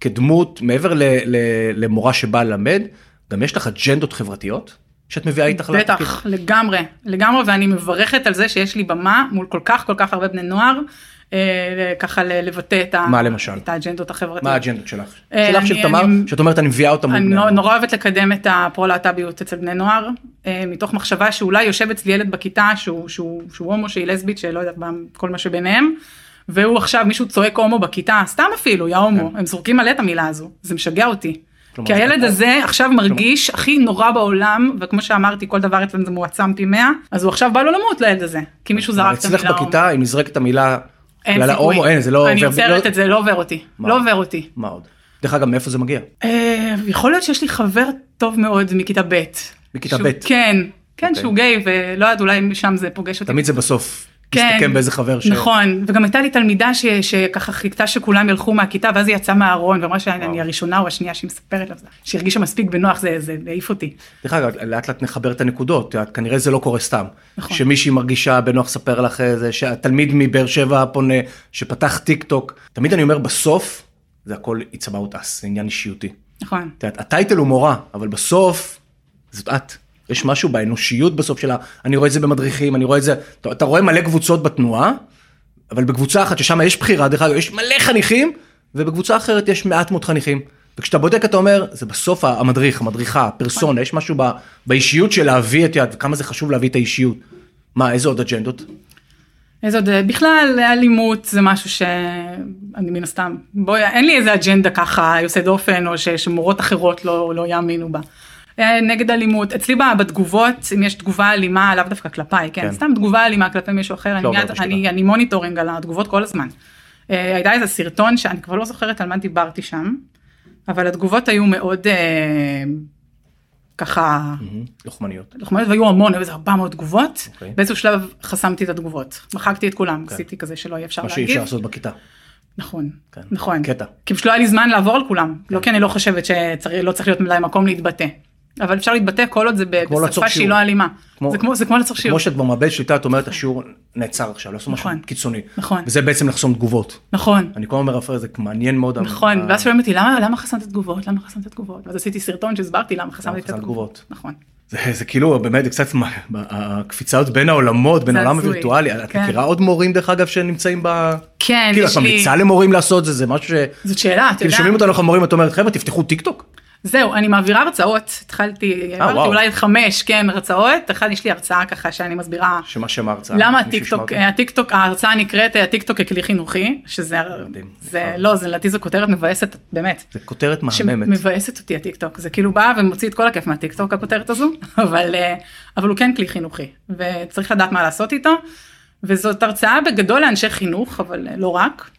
[SPEAKER 1] כדמות מעבר ל, ל, למורה שבאה ללמד, גם יש לך אג'נדות חברתיות שאת מביאה איתך. לתפקיד?
[SPEAKER 2] בטח, לגמרי, לגמרי, ואני מברכת על זה שיש לי במה מול כל כך כל כך הרבה בני נוער, אה, ככה ל- לבטא את, ה-
[SPEAKER 1] מה למשל?
[SPEAKER 2] את האג'נדות החברתיות.
[SPEAKER 1] מה האג'נדות שלך?
[SPEAKER 2] אה,
[SPEAKER 1] שלך
[SPEAKER 2] אני-
[SPEAKER 1] של תמר,
[SPEAKER 2] אני-
[SPEAKER 1] שאת אומרת אני מביאה אותה מול
[SPEAKER 2] אני לא-
[SPEAKER 1] בני
[SPEAKER 2] נו-
[SPEAKER 1] הנוער."
[SPEAKER 2] נורא אוהבת לקדם את הפרו-להט"ביות אצל בני נוער, אה, מתוך מחשבה שאולי יושב אצלי ילד בכיתה שהוא, שהוא, שהוא הומו, שהיא לסבית, שלא יודעת מה, כל מה שביניהם, והוא עכשיו מישהו צועק הומו בכיתה, סתם אפילו, יא הומו, הם זורקים מלא את המילה הזו, זה משגע אותי.
[SPEAKER 1] כן. כלומר,
[SPEAKER 2] כי
[SPEAKER 1] זה-
[SPEAKER 2] הילד הזה עכשיו מרגיש הכי נורא בעולם, וכמו שאמרתי, כל דבר אצלנו זה מועצם פי 100, אז הוא עכשיו בא לו למות לילד הזה, כי מישהו זרק את
[SPEAKER 1] אצלך
[SPEAKER 2] המילה הומו.
[SPEAKER 1] בכיתה, אם נזרקת המילה,
[SPEAKER 2] אין
[SPEAKER 1] המילה
[SPEAKER 2] סיכוי.
[SPEAKER 1] הומו, אין, זה לא
[SPEAKER 2] אני
[SPEAKER 1] עובר-
[SPEAKER 2] עוצרת
[SPEAKER 1] לא-
[SPEAKER 2] את זה, לא עובר אותי.
[SPEAKER 1] מה?
[SPEAKER 2] לא עובר אותי.
[SPEAKER 1] מה עוד? דרך אגב, מאיפה זה מגיע?
[SPEAKER 2] אה, יכול להיות שיש לי חבר טוב מאוד מכיתה ב'.
[SPEAKER 1] מכיתה
[SPEAKER 2] שהוא-
[SPEAKER 1] ב'.
[SPEAKER 2] כן, כן,
[SPEAKER 1] אוקיי.
[SPEAKER 2] שהוא גיי, ולא יודעת, אולי משם זה פוגש אותי.
[SPEAKER 1] תמיד זה בסוף
[SPEAKER 2] כן.
[SPEAKER 1] מסתכם באיזה חבר ש...
[SPEAKER 2] נכון, וגם הייתה לי תלמידה ש- שככה חיכתה שכולם ילכו מהכיתה, ואז היא יצאה מהארון, ואמרה
[SPEAKER 1] וואו.
[SPEAKER 2] שאני הראשונה או השנייה שהיא מספרת לה, שהרגישה מספיק בנוח, זה זה העיף אותי.
[SPEAKER 1] דרך אגב, לאט לאט נחבר את הנקודות, את יודעת, כנראה זה לא קורה סתם.
[SPEAKER 2] נכון.
[SPEAKER 1] שמישהי מרגישה בנוח לספר לך איזה, שהתלמיד מבאר שבע פונה, שפתח טיק טוק, תמיד אני אומר בסוף, זה הכל it's about us, זה עניין אישיותי.
[SPEAKER 2] נכון.
[SPEAKER 1] את יודעת, הטייטל הוא מורה, אבל בסוף זאת את. יש משהו באנושיות בסוף שלה, אני רואה את זה במדריכים, אני רואה את זה, אתה, אתה רואה מלא קבוצות בתנועה, אבל בקבוצה אחת ששם יש בחירה, דרך אגב, יש מלא חניכים, ובקבוצה אחרת יש מעט מאוד חניכים. וכשאתה בודק אתה אומר, זה בסוף המדריך, המדריכה, הפרסונה, יש משהו ב, באישיות של להביא את יד, וכמה זה חשוב להביא את האישיות. מה, איזה עוד אג'נדות?
[SPEAKER 2] אז עוד אה, בכלל אלימות זה משהו שאני מן הסתם בואי אין לי איזה אג'נדה ככה יוצא דופן או ש, שמורות אחרות לא, לא יאמינו בה. אה, נגד אלימות אצלי ב- בתגובות אם יש תגובה אלימה לאו דווקא כלפיי כן,
[SPEAKER 1] כן.
[SPEAKER 2] סתם תגובה אלימה כלפי מישהו אחר אני,
[SPEAKER 1] עובר
[SPEAKER 2] מיד,
[SPEAKER 1] בשתיקה.
[SPEAKER 2] אני, אני מוניטורינג על התגובות כל הזמן. אה, הייתה איזה סרטון שאני כבר לא זוכרת על מה דיברתי שם אבל התגובות היו מאוד אה, ככה
[SPEAKER 1] לוחמניות.
[SPEAKER 2] לוחמניות והיו המון, היו איזה 400 תגובות,
[SPEAKER 1] אוקיי. כן.
[SPEAKER 2] באיזשהו שלב חסמתי את התגובות, מחקתי את כולם, עשיתי כזה שלא יהיה אפשר
[SPEAKER 1] מה שאי
[SPEAKER 2] להגיב,
[SPEAKER 1] אפשר לעשות בכיתה.
[SPEAKER 2] נכון,
[SPEAKER 1] כן.
[SPEAKER 2] נכון,
[SPEAKER 1] קטע. כן.
[SPEAKER 2] כי פשוט לא היה לי זמן לעבור על כולם, לא כי אני לא חושבת שלא צריך להיות מלאי מקום להתבטא, אבל אפשר להתבטא כל עוד זה ב-
[SPEAKER 1] כמו לעצור שיעור.
[SPEAKER 2] בשפה שהיא לא אלימה,
[SPEAKER 1] כמו-
[SPEAKER 2] זה כמו- זה כמו לעצור שיעור,
[SPEAKER 1] כמו שאת כבר מאבדת שליטה, את אומרת השיעור נעצר עכשיו, לעשות משהו
[SPEAKER 2] נכון.
[SPEAKER 1] קיצוני.
[SPEAKER 2] נכון.
[SPEAKER 1] וזה בעצם לחסום תגובות.
[SPEAKER 2] נכון,
[SPEAKER 1] אני אה. כל הזמן אומר אחרי זה מעניין מאוד.
[SPEAKER 2] נכון,
[SPEAKER 1] ה-
[SPEAKER 2] ואז שואלים אותי למה למה חסמת את התגובות, למה חסמת את התגובות, ואז עשיתי סרטון שהסברתי למה חסמתי את
[SPEAKER 1] חסמת
[SPEAKER 2] התגובות, נכון,
[SPEAKER 1] זה, זה כאילו באמת זה קצת מה- הקפיצה בין העולמות בין
[SPEAKER 2] זה
[SPEAKER 1] העולם
[SPEAKER 2] הזוי.
[SPEAKER 1] הווירטואלי את
[SPEAKER 2] כן.
[SPEAKER 1] מכירה עוד מורים דרך אגב שנמצאים ב...
[SPEAKER 2] כן,
[SPEAKER 1] כאילו את
[SPEAKER 2] יש לי-
[SPEAKER 1] ממליצה למורים לעשות זה זה משהו ש...
[SPEAKER 2] זאת שאלה, אתה
[SPEAKER 1] כאילו
[SPEAKER 2] יודע,
[SPEAKER 1] שומעים אותנו אנחנו מורים את אומרת חברה תפתחו טיק טוק.
[SPEAKER 2] זהו, אני מעבירה הרצאות, התחלתי,
[SPEAKER 1] אה, וואו.
[SPEAKER 2] העברתי אולי חמש, כן, הרצאות, אחד יש לי הרצאה ככה שאני מסבירה
[SPEAKER 1] שמה שם ההרצאה.
[SPEAKER 2] למה
[SPEAKER 1] מישהו ישמע
[SPEAKER 2] הטיקטוק,
[SPEAKER 1] אותי.
[SPEAKER 2] הטיקטוק, ההרצאה נקראת אה, הטיקטוק ככלי חינוכי, שזה,
[SPEAKER 1] מדהים. אה.
[SPEAKER 2] זה, לא, זה לדעתי זו כותרת מבאסת, באמת,
[SPEAKER 1] זה כותרת מהממת.
[SPEAKER 2] שמבאסת אותי הטיקטוק, זה כאילו בא ומוציא את כל הכיף מהטיקטוק הכותרת הזו, אבל, אה, אבל הוא כן כלי חינוכי, וצריך לדעת מה לעשות איתו, וזאת הרצאה בגדול לאנשי חינוך, אבל אה, לא רק.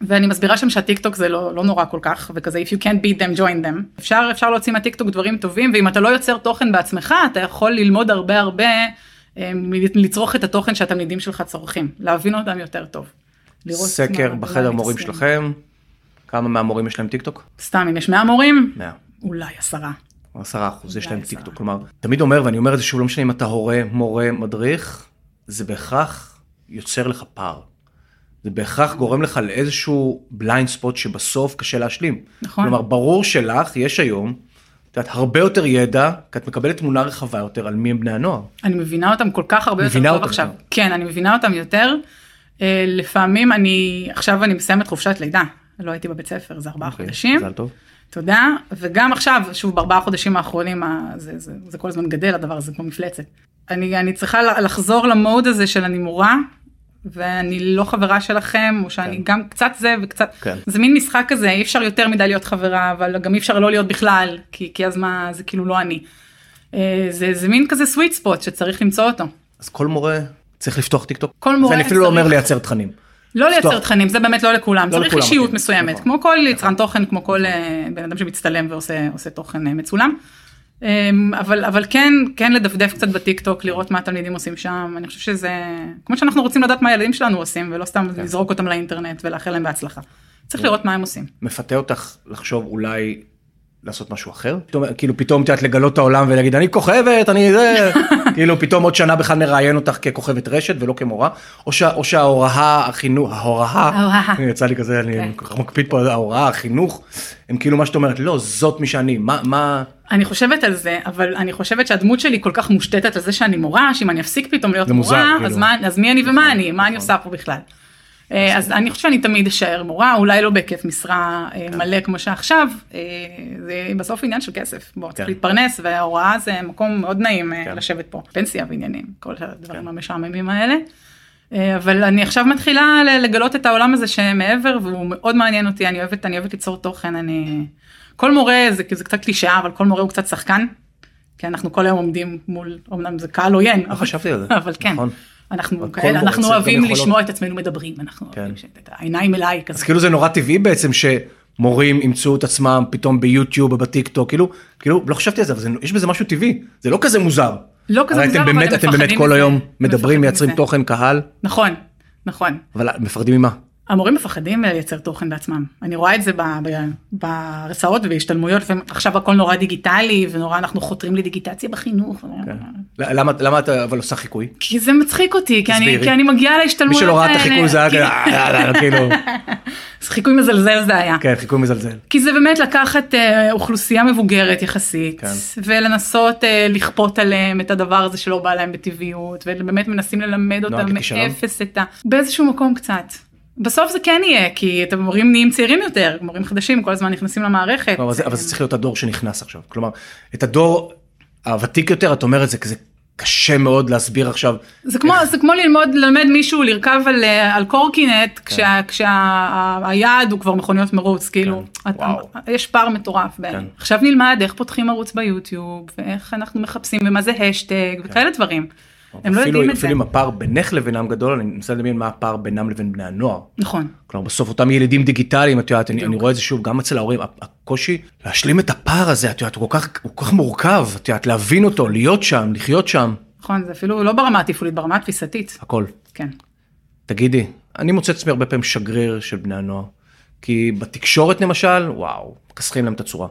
[SPEAKER 2] ואני מסבירה שם שהטיקטוק זה לא, לא נורא כל כך וכזה if you can't beat them join them אפשר אפשר להוציא מהטיקטוק דברים טובים ואם אתה לא יוצר תוכן בעצמך אתה יכול ללמוד הרבה הרבה אה, מ- לצרוך את התוכן שהתלמידים שלך צורכים, להבין אותם יותר טוב. לראות
[SPEAKER 1] סקר
[SPEAKER 2] מה- מה
[SPEAKER 1] בחדר
[SPEAKER 2] אני
[SPEAKER 1] מורים
[SPEAKER 2] עושה.
[SPEAKER 1] שלכם, כמה מהמורים יש להם טיק טוק?
[SPEAKER 2] סתם, אם יש 100 מורים,
[SPEAKER 1] 100.
[SPEAKER 2] אולי עשרה.
[SPEAKER 1] או 10% יש
[SPEAKER 2] אולי
[SPEAKER 1] להם
[SPEAKER 2] 10.
[SPEAKER 1] טיק טוק. כלומר, תמיד אומר, ואני אומר את זה שוב, לא משנה אם אתה הורה, מורה, מדריך, זה בהכרח יוצר לך פער. זה בהכרח גורם לך לאיזשהו בליינד ספוט שבסוף קשה להשלים.
[SPEAKER 2] נכון.
[SPEAKER 1] כלומר, ברור שלך יש היום, את יודעת, הרבה יותר ידע, כי את מקבלת תמונה רחבה יותר על מי הם בני הנוער.
[SPEAKER 2] אני מבינה אותם כל כך הרבה יותר
[SPEAKER 1] מבינה
[SPEAKER 2] טוב
[SPEAKER 1] אותם
[SPEAKER 2] עכשיו.
[SPEAKER 1] גם.
[SPEAKER 2] כן, אני מבינה אותם יותר. אה, לפעמים אני, עכשיו אני מסיימת חופשת לידה. לא הייתי בבית ספר, זה ארבעה
[SPEAKER 1] אוקיי,
[SPEAKER 2] חודשים.
[SPEAKER 1] מזל טוב.
[SPEAKER 2] תודה. וגם עכשיו, שוב, בארבעה חודשים האחרונים, ה- זה, זה, זה כל הזמן גדל, הדבר הזה כמו מפלצת. אני, אני צריכה ל- לחזור למוד הזה של אני מורה, ואני לא חברה שלכם, או שאני
[SPEAKER 1] כן.
[SPEAKER 2] גם קצת זה וקצת...
[SPEAKER 1] כן.
[SPEAKER 2] זה מין משחק כזה, אי אפשר יותר מדי להיות חברה, אבל גם אי אפשר לא להיות בכלל, כי, כי אז מה, זה כאילו לא אני. אה, זה, זה מין כזה סוויט ספוט שצריך למצוא אותו.
[SPEAKER 1] אז כל מורה צריך לפתוח טיק טוק.
[SPEAKER 2] כל מורה
[SPEAKER 1] ואני אפילו לא אומר
[SPEAKER 2] צריך-
[SPEAKER 1] לייצר תכנים.
[SPEAKER 2] לא לייצר
[SPEAKER 1] לפתוח.
[SPEAKER 2] תכנים, זה באמת לא לכולם,
[SPEAKER 1] לא
[SPEAKER 2] צריך
[SPEAKER 1] לכולם
[SPEAKER 2] אישיות
[SPEAKER 1] מתאים.
[SPEAKER 2] מסוימת,
[SPEAKER 1] נכון.
[SPEAKER 2] כמו כל יצרן תוכן, כמו כל אה, בן אדם שמצטלם ועושה עושה תוכן אה, מצולם. אמ, אבל אבל כן כן לדפדף קצת בטיק טוק לראות מה התלמידים עושים שם אני חושב שזה כמו שאנחנו רוצים לדעת מה הילדים שלנו עושים ולא סתם
[SPEAKER 1] כן.
[SPEAKER 2] לזרוק אותם לאינטרנט ולאחל להם בהצלחה. צריך לראות מה הם עושים.
[SPEAKER 1] מפתה אותך לחשוב אולי לעשות משהו אחר? פתאום, כאילו פתאום את יודעת לגלות את העולם ולהגיד אני כוכבת אני זה כאילו פתאום עוד שנה בכלל נראיין אותך ככוכבת רשת ולא כמורה או, שה, או שההוראה החינוך ההוראה
[SPEAKER 2] ההוראה.
[SPEAKER 1] יצא לי כזה אני
[SPEAKER 2] כן.
[SPEAKER 1] כל כך מקפיד פה על ההוראה החינוך הם כאילו מה שאת אומרת לא זאת מי שאני מה מה
[SPEAKER 2] אני חושבת על זה אבל אני חושבת שהדמות שלי כל כך מושתתת על זה שאני מורה שאם אני אפסיק פתאום להיות
[SPEAKER 1] זה מוזר,
[SPEAKER 2] מורה
[SPEAKER 1] כאילו.
[SPEAKER 2] אז, מה, אז מי אני
[SPEAKER 1] נכון,
[SPEAKER 2] ומה אני מה אני
[SPEAKER 1] נכון.
[SPEAKER 2] עושה פה בכלל. אה, אז אני חושבת שאני תמיד אשאר מורה אולי לא בהיקף משרה אה,
[SPEAKER 1] כן.
[SPEAKER 2] מלא כמו שעכשיו אה, זה בסוף עניין של כסף בוא צריך
[SPEAKER 1] כן.
[SPEAKER 2] להתפרנס וההוראה זה מקום מאוד נעים אה,
[SPEAKER 1] כן.
[SPEAKER 2] לשבת פה פנסיה ועניינים כל הדברים המשעממים האלה. אה, אבל אני עכשיו מתחילה ל- לגלות את העולם הזה שמעבר והוא מאוד מעניין אותי אני אוהבת אני אוהבת ליצור תוכן אני כל מורה זה, זה קצת קלישאה אבל כל מורה הוא קצת שחקן. כי אנחנו כל היום עומדים מול אמנם זה קהל עוין
[SPEAKER 1] לא חשבתי על זה
[SPEAKER 2] אבל כן
[SPEAKER 1] נכון.
[SPEAKER 2] אנחנו
[SPEAKER 1] אבל כל
[SPEAKER 2] כאלה
[SPEAKER 1] מורה
[SPEAKER 2] אנחנו
[SPEAKER 1] צריך גם
[SPEAKER 2] אוהבים
[SPEAKER 1] יכולות.
[SPEAKER 2] לשמוע את עצמנו מדברים אנחנו
[SPEAKER 1] כן.
[SPEAKER 2] אוהבים שאת העיניים אליי
[SPEAKER 1] אז
[SPEAKER 2] כזה
[SPEAKER 1] כאילו זה נורא טבעי בעצם שמורים ימצאו את עצמם פתאום ביוטיוב ובטיקטוק כאילו כאילו לא חשבתי על זה אבל זה, יש בזה משהו טבעי זה לא כזה מוזר.
[SPEAKER 2] לא כזה
[SPEAKER 1] הרי
[SPEAKER 2] מוזר,
[SPEAKER 1] אתם
[SPEAKER 2] אבל
[SPEAKER 1] באמת
[SPEAKER 2] הם
[SPEAKER 1] אתם באמת
[SPEAKER 2] מפחדים
[SPEAKER 1] כל
[SPEAKER 2] מזה.
[SPEAKER 1] היום
[SPEAKER 2] הם
[SPEAKER 1] מדברים
[SPEAKER 2] מפחדים
[SPEAKER 1] מייצרים
[SPEAKER 2] מזה.
[SPEAKER 1] תוכן קהל
[SPEAKER 2] נכון נכון
[SPEAKER 1] אבל מפחדים ממה
[SPEAKER 2] המורים מפחדים אה, לייצר תוכן בעצמם אני רואה את זה ב- ב- בהרצאות ובהשתלמויות ועכשיו הכל נורא דיגיטלי ונורא אנחנו חותרים לדיגיטציה בחינוך.
[SPEAKER 1] כן.
[SPEAKER 2] אה.
[SPEAKER 1] ל- למה למה אתה אבל עושה חיקוי
[SPEAKER 2] כי זה מצחיק אותי כי אני
[SPEAKER 1] תסבירי.
[SPEAKER 2] כי אני מגיעה
[SPEAKER 1] מי
[SPEAKER 2] להשתלמויות
[SPEAKER 1] שלא ראה את
[SPEAKER 2] האלה,
[SPEAKER 1] החיקוי זה היה
[SPEAKER 2] כי-
[SPEAKER 1] כזה, "אה, אה, אה", כאילו
[SPEAKER 2] אז חיקוי מזלזל זה היה.
[SPEAKER 1] כן חיקוי מזלזל.
[SPEAKER 2] כי זה באמת לקחת אה, אוכלוסייה מבוגרת יחסית,
[SPEAKER 1] כן.
[SPEAKER 2] ולנסות אה, לכפות עליהם את הדבר הזה שלא בא להם בטבעיות, ובאמת מנסים ללמד אותם
[SPEAKER 1] ככישלון?
[SPEAKER 2] מאפס את ה... באיזשהו מקום קצת. בסוף זה כן יהיה, כי את המורים נהיים צעירים יותר, מורים חדשים כל הזמן נכנסים למערכת. אה,
[SPEAKER 1] כלומר, זה- לא, אבל זה צריך להיות הדור שנכנס עכשיו כלומר את הדור הוותיק יותר את אומרת זה כזה קשה מאוד להסביר עכשיו
[SPEAKER 2] זה כמו, זה כמו ללמוד, ללמד מישהו לרכב על, אה, על קורקינט כשה- כשהיעד הוא כבר מכוניות מרוץ, כאילו,
[SPEAKER 1] כן. כן.
[SPEAKER 2] אתה-
[SPEAKER 1] וואו.
[SPEAKER 2] יש פער מטורף
[SPEAKER 1] כן.
[SPEAKER 2] בעיני. עכשיו נלמד איך פותחים ערוץ ביוטיוב, ואיך אנחנו מחפשים ומה זה השטג וכאלה דברים. הם לא
[SPEAKER 1] כן. אפילו
[SPEAKER 2] יודעים את זה.
[SPEAKER 1] אפילו אם הפער בינך לבינם גדול אני מנסה לדמיין מה הפער בינם לבין בני הנוער.
[SPEAKER 2] נכון.
[SPEAKER 1] כלומר בסוף אותם ילדים דיגיטליים את יודעת אני,
[SPEAKER 2] בדיוק.
[SPEAKER 1] אני רואה את זה שוב גם אצל ההורים הקושי להשלים את הפער הזה את יודעת הוא כל כך הוא כל כך מורכב את יודעת להבין אותו להיות שם לחיות שם
[SPEAKER 2] נכון, זה אפילו לא ברמה התפעולית, ברמה התפיסתית.
[SPEAKER 1] הכל.
[SPEAKER 2] כן.
[SPEAKER 1] תגידי אני מוצא את עצמי הרבה פעמים שגריר של בני הנוער כי בתקשורת למשל וואו מכסחים להם את הצורה.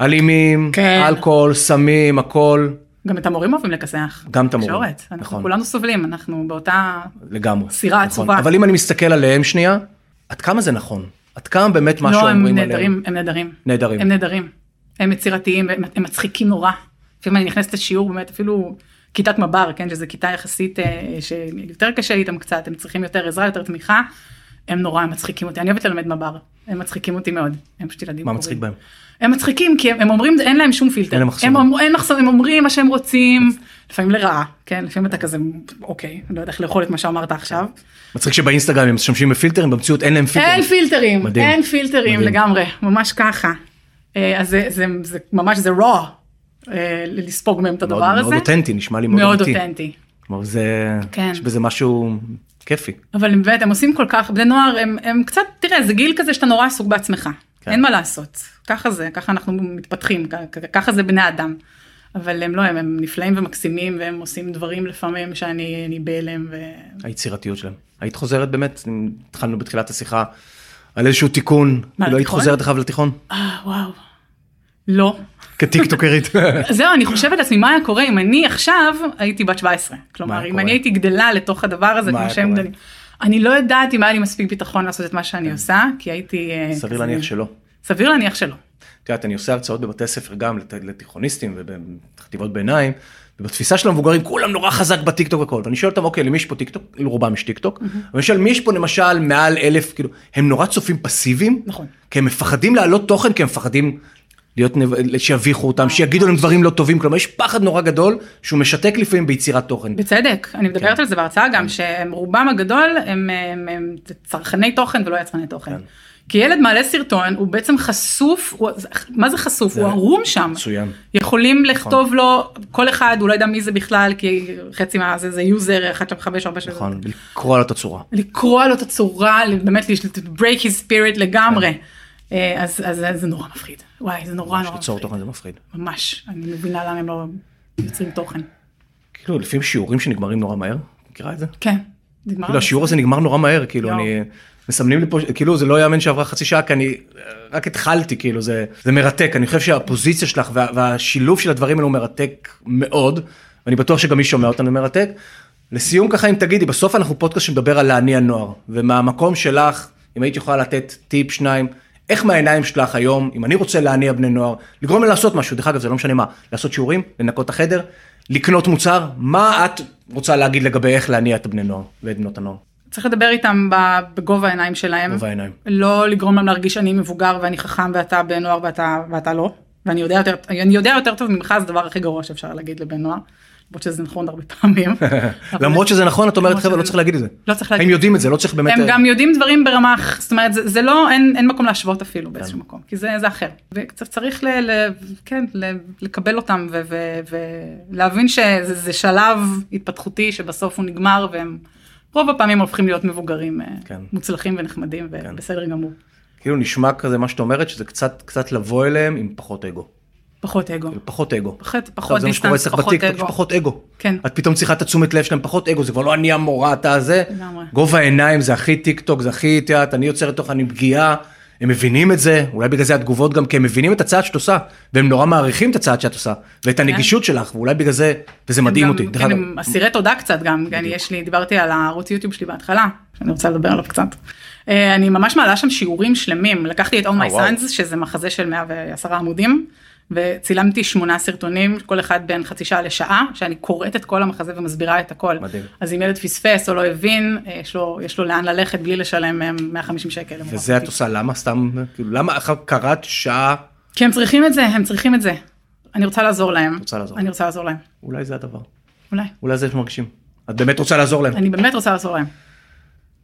[SPEAKER 1] אלימים
[SPEAKER 2] כן.
[SPEAKER 1] אלכוהול סמים הכל
[SPEAKER 2] גם את המורים אוהבים לכסח.
[SPEAKER 1] גם את המורים,
[SPEAKER 2] תקשורת. אנחנו
[SPEAKER 1] נכון.
[SPEAKER 2] כולנו סובלים, אנחנו באותה...
[SPEAKER 1] לגמרי. נכון.
[SPEAKER 2] סירה עצובה.
[SPEAKER 1] אבל אם אני מסתכל עליהם שנייה עד כמה זה נכון עד כמה באמת מה
[SPEAKER 2] לא,
[SPEAKER 1] שאומרים
[SPEAKER 2] הם
[SPEAKER 1] עליהם.
[SPEAKER 2] נהדרים, הם נהדרים.
[SPEAKER 1] נהדרים.
[SPEAKER 2] הם נהדרים. הם יצירתיים, הם הם מצחיקים נורא. לפעמים אני נכנסת לשיעור באמת אפילו כיתת מב"ר, כן, שזו כיתה יחסית אה, שיותר קשה איתם קצת, הם צריכים יותר עזרה, יותר תמיכה. הם נורא מצחיקים אותי, אני אוהבת ללמד מב"ר, הם מצחיקים אותי מאוד, הם פשוט ילדים.
[SPEAKER 1] מה
[SPEAKER 2] קוראים.
[SPEAKER 1] מצחיק בהם?
[SPEAKER 2] הם מצחיקים כי הם, הם אומרים אין להם שום פילטר.
[SPEAKER 1] אין להם מחסומים.
[SPEAKER 2] הם, אומר- אין מחסום, הם אומרים מה שהם רוצים, לפעמים לרעה, כן, לפעמים אתה כזה, אוקיי, אני לא יודע איך לאכול את מה שאמרת עכשיו.
[SPEAKER 1] מצחיק שבאינסטגרם הם משתמשים בפילטרים במציאות אין להם פילטרים.
[SPEAKER 2] אין פילטרים,
[SPEAKER 1] מדהים.
[SPEAKER 2] אין
[SPEAKER 1] מדהים.
[SPEAKER 2] פילטרים לגמרי, ממש ככה. אה, אז זה, זה, זה ממש זה raw אה, לספוג מהם את
[SPEAKER 1] מאוד-
[SPEAKER 2] הדבר הזה.
[SPEAKER 1] מאוד אותנטי נשמע לי מאוד
[SPEAKER 2] מאוד
[SPEAKER 1] אמיתי.
[SPEAKER 2] אותנטי.
[SPEAKER 1] כלומר זה,
[SPEAKER 2] כן.
[SPEAKER 1] יש בזה משהו כיפי.
[SPEAKER 2] אבל הם באמת, הם עושים כל כך, בני נוער הם, הם קצת, תראה, זה גיל כזה שאתה נורא עסוק בעצמך.
[SPEAKER 1] כן.
[SPEAKER 2] אין מה לעשות, ככה זה, ככה אנחנו מתפתחים, כ- כ- ככה זה בני אדם. אבל הם לא, הם, הם נפלאים ומקסימים, והם עושים דברים לפעמים שאני אני בהלם. ו...
[SPEAKER 1] היצירתיות שלהם. היית חוזרת באמת, התחלנו בתחילת השיחה על איזשהו תיקון,
[SPEAKER 2] מה,
[SPEAKER 1] לא היית
[SPEAKER 2] לתיכון?
[SPEAKER 1] חוזרת אחריו לתיכון?
[SPEAKER 2] אה, וואו. לא.
[SPEAKER 1] כטיקטוקרית.
[SPEAKER 2] זהו, אני חושבת לעצמי, מה היה קורה אם אני עכשיו הייתי בת 17?
[SPEAKER 1] מה היה
[SPEAKER 2] כלומר, אם
[SPEAKER 1] קורה?
[SPEAKER 2] אני הייתי גדלה לתוך הדבר הזה,
[SPEAKER 1] מה
[SPEAKER 2] כמו
[SPEAKER 1] היה
[SPEAKER 2] שהם
[SPEAKER 1] קורה? כן.
[SPEAKER 2] גדלים. אני לא יודעת אם היה לי מספיק ביטחון לעשות את מה שאני עושה, כי הייתי... אה,
[SPEAKER 1] סביר
[SPEAKER 2] כזה-
[SPEAKER 1] להניח שלא.
[SPEAKER 2] סביר להניח שלא.
[SPEAKER 1] את יודעת, אני עושה הרצאות בבתי ספר גם לת- לתיכוניסטים ובחטיבות ביניים, ובתפיסה של המבוגרים כולם נורא חזק בטיקטוק וכל, ואני שואל אותם, אוקיי, למי יש פה טיקטוק? לרובם יש טיקטוק, ואני שואל, מי יש פה למשל מעל אלף, כאילו, הם נורא צופים פסיביים,
[SPEAKER 2] נכון.
[SPEAKER 1] כי הם מפחדים להעלות תוכן, כי הם מפחדים להיות, נב- שיביכו אותם,
[SPEAKER 2] אה,
[SPEAKER 1] שיגידו להם דברים לא טובים, כלומר, יש פחד נורא גדול, שהוא משתק לפעמים ביצירת תוכן.
[SPEAKER 2] בצדק, אני מדברת
[SPEAKER 1] כן.
[SPEAKER 2] על זה בהרצאה גם, שהם רובם הגדול הם, הם, הם צרכני תוכן ולא יצרני תוכן.
[SPEAKER 1] כן.
[SPEAKER 2] כי ילד מעלה סרטון, הוא בעצם חשוף, הוא, מה זה חשוף? הוא ערום שם.
[SPEAKER 1] מצוין. נכון.
[SPEAKER 2] יכולים לכתוב לו, כל אחד, הוא לא יודע מי זה בכלל, כי חצי מה זה, זה יוזר 154 שזה.
[SPEAKER 1] נכון, לקרוא על התצורה.
[SPEAKER 2] אה, לקרוע לו את הצורה, באמת ל- to break his spirit
[SPEAKER 1] כן.
[SPEAKER 2] לגמרי. אה, אז, אז, אז זה נורא מפחיד. וואי, זה נורא נורא
[SPEAKER 1] ליצור
[SPEAKER 2] מפחיד.
[SPEAKER 1] תוכן זה מפחיד.
[SPEAKER 2] ממש, אני מבינה למה הם לא יוצרים תוכן.
[SPEAKER 1] כאילו, לפעמים שיעורים שנגמרים נורא מהר, מכירה את זה?
[SPEAKER 2] כן, נגמר.
[SPEAKER 1] כאילו השיעור הזה נגמר נורא מהר כאילו
[SPEAKER 2] יואו.
[SPEAKER 1] אני מסמנים לי פה כאילו זה לא יאמן שעברה חצי שעה כי אני אה, רק התחלתי כאילו זה זה מרתק אני חושב שהפוזיציה שלך וה, והשילוב של הדברים האלו הוא מרתק מאוד ואני בטוח שגם מי שומע אותנו מרתק. לסיום ככה אם תגידי בסוף אנחנו פודקאסט שמדבר על להניע נוער ומהמקום שלך אם היית יכולה לתת טיפ שניים. איך מהעיניים שלך היום, אם אני רוצה להניע בני נוער, לגרום להם לעשות משהו, דרך אגב זה לא משנה מה, לעשות שיעורים, לנקות את החדר, לקנות מוצר, מה את רוצה להגיד לגבי איך להניע את הבני נוער ואת בנות הנוער?
[SPEAKER 2] צריך לדבר איתם ב- בגובה העיניים שלהם.
[SPEAKER 1] גובה העיניים.
[SPEAKER 2] לא לגרום להם להרגיש שאני מבוגר ואני חכם ואתה בן נוער ואתה, ואתה לא. ואני יודע יותר, אני יודע יותר טוב ממך, זה הדבר הכי גרוע שאפשר להגיד לבן נוער. למרות שזה נכון הרבה פעמים. אבל-
[SPEAKER 1] למרות שזה נכון את אומרת
[SPEAKER 2] למרות
[SPEAKER 1] חבר'ה
[SPEAKER 2] שזה-
[SPEAKER 1] לא צריך להגיד את זה.
[SPEAKER 2] לא צריך להגיד.
[SPEAKER 1] הם יודעים את זה לא צריך באמת.
[SPEAKER 2] הם גם יודעים דברים ברמה, זאת אומרת, זה, זה לא, אין, אין מקום להשוות אפילו באיזשהו מקום, כי זה, זה אחר. וצריך, ל, ל, כן, ל, לקבל אותם ו- ו- ולהבין שזה זה שלב התפתחותי שבסוף הוא נגמר, והם רוב הפעמים הופכים להיות מבוגרים אה,
[SPEAKER 1] כן.
[SPEAKER 2] מוצלחים ונחמדים ובסדר גמור.
[SPEAKER 1] כאילו נשמע כזה מה שאת אומרת שזה קצת קצת לבוא אליהם עם פחות אגו.
[SPEAKER 2] פחות אגו.
[SPEAKER 1] כאילו, פחות אגו.
[SPEAKER 2] פחות-
[SPEAKER 1] טוב,
[SPEAKER 2] פחות
[SPEAKER 1] זה מה שקורה
[SPEAKER 2] דיסטנס,
[SPEAKER 1] אצלך
[SPEAKER 2] פחות
[SPEAKER 1] בטיקטוק,
[SPEAKER 2] אגו.
[SPEAKER 1] פחות אגו.
[SPEAKER 2] כן.
[SPEAKER 1] את פתאום צריכה את התשומת לב שלהם פחות אגו זה כבר לא אני המורה אתה זה.
[SPEAKER 2] לגמרי.
[SPEAKER 1] גובה העיניים זה הכי טיקטוק זה הכי את יודעת אני יוצרת תוכן אני פגיעה. הם מבינים את זה אולי בגלל זה התגובות גם כי הם מבינים את הצעד שאת עושה והם נורא מעריכים את הצעד שאת עושה ואת הנגישות שלך ואולי בגלל זה וזה מדהים
[SPEAKER 2] כן. גם-
[SPEAKER 1] אותי. דרך
[SPEAKER 2] כן,
[SPEAKER 1] אגב.
[SPEAKER 2] הם אסירי תודה קצת גם, אני יש לי, דיברתי על הערוץ יוטיוב שלי בהתחלה, שאני רוצה לדבר עליו קצת. אה, אני ממש מעלה שם שיעורים שלמים, לקחתי את All My
[SPEAKER 1] אה, וואו.
[SPEAKER 2] Sons, שזה מחזה של 110 עמודים, וצילמתי שמונה סרטונים, כל אחד בין חצי שעה לשעה, שאני קוראת את כל המחזה ומסבירה את הכל.
[SPEAKER 1] מדהים.
[SPEAKER 2] אז אם ילד פספס או לא הבין, אה, יש לו, יש לו לאן ללכת בלי לשלם אה, 150 שקל. למורה
[SPEAKER 1] וזה את
[SPEAKER 2] פרטית.
[SPEAKER 1] עושה למה סתם כאילו למה אחר קראת שעה
[SPEAKER 2] כי הם צריכים את זה, הם צריכים את זה. אני רוצה לעזור להם.
[SPEAKER 1] רוצה לעזור.
[SPEAKER 2] אני רוצה לעזור להם,
[SPEAKER 1] אולי זה הדבר.
[SPEAKER 2] אולי.
[SPEAKER 1] אולי זה מרגישים. את באמת רוצה לעזור להם.
[SPEAKER 2] אני באמת רוצה לעזור להם.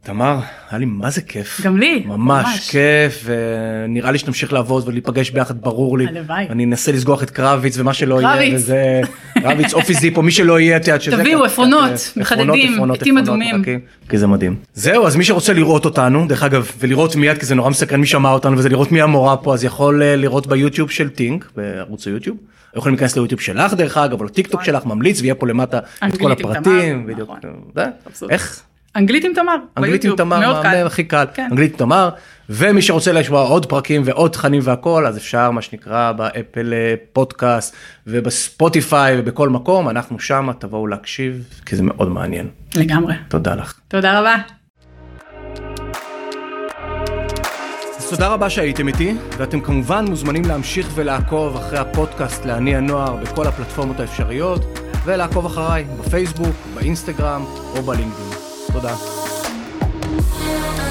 [SPEAKER 1] תמר, היה לי מה זה כיף.
[SPEAKER 2] גם לי,
[SPEAKER 1] ממש
[SPEAKER 2] ממש.
[SPEAKER 1] כיף, ונראה לי שנמשיך לעבוד ולהיפגש ביחד, ברור לי.
[SPEAKER 2] הלוואי.
[SPEAKER 1] אני אנסה לסגוח את קרביץ ומה שלא יהיה,
[SPEAKER 2] קרביץ.
[SPEAKER 1] וזה... קרביץ, אופי זיפ, או מי שלא יהיה, את יודעת שזה...
[SPEAKER 2] תביאו,
[SPEAKER 1] ככה,
[SPEAKER 2] עפרונות,
[SPEAKER 1] אה,
[SPEAKER 2] מחדדים,
[SPEAKER 1] עפרונות,
[SPEAKER 2] עטים
[SPEAKER 1] עפרונות,
[SPEAKER 2] אדומים.
[SPEAKER 1] מרקים, כי זה מדהים. זהו, אז מי שרוצה לראות אותנו, דרך אגב, ולראות מיד, כי זה נורא מסקרן מי שמע אותנו, וזה לראות מי המורה פה, אז יכול אה, לראות ביוטיוב של טינק, בערוץ היוטיוב. יכולים להיכנס ליוטיוב שלך דרך אגב, או לטיקטוק שלך ממליץ, ויהיה פה למטה את
[SPEAKER 2] אנגלית
[SPEAKER 1] כל
[SPEAKER 2] עם תמר,
[SPEAKER 1] הפרטים, בדיוק,
[SPEAKER 2] נכון.
[SPEAKER 1] זה,
[SPEAKER 2] מבסוט.
[SPEAKER 1] איך,
[SPEAKER 2] אנגלית עם תמר,
[SPEAKER 1] אנגלית עם
[SPEAKER 2] ביוטיוב,
[SPEAKER 1] תמר,
[SPEAKER 2] מאוד קל.
[SPEAKER 1] מהמם, הכי קל,
[SPEAKER 2] כן.
[SPEAKER 1] אנגלית עם תמר, ומי שרוצה לשמוע עוד פרקים ועוד תכנים והכל, אז אפשר מה שנקרא באפל אה, פודקאסט ובספוטיפיי ובכל מקום, אנחנו שמה, תבואו להקשיב, כי זה מאוד מעניין.
[SPEAKER 2] לגמרי.
[SPEAKER 1] תודה לך.
[SPEAKER 2] תודה רבה.
[SPEAKER 1] אז תודה רבה שהייתם איתי, ואתם כמובן מוזמנים להמשיך ולעקוב אחרי הפודקאסט להניע נוער בכל הפלטפורמות האפשריות, ולעקוב אחריי בפייסבוק, באינסטגרם או בלינקדאין. תודה.
[SPEAKER 3] I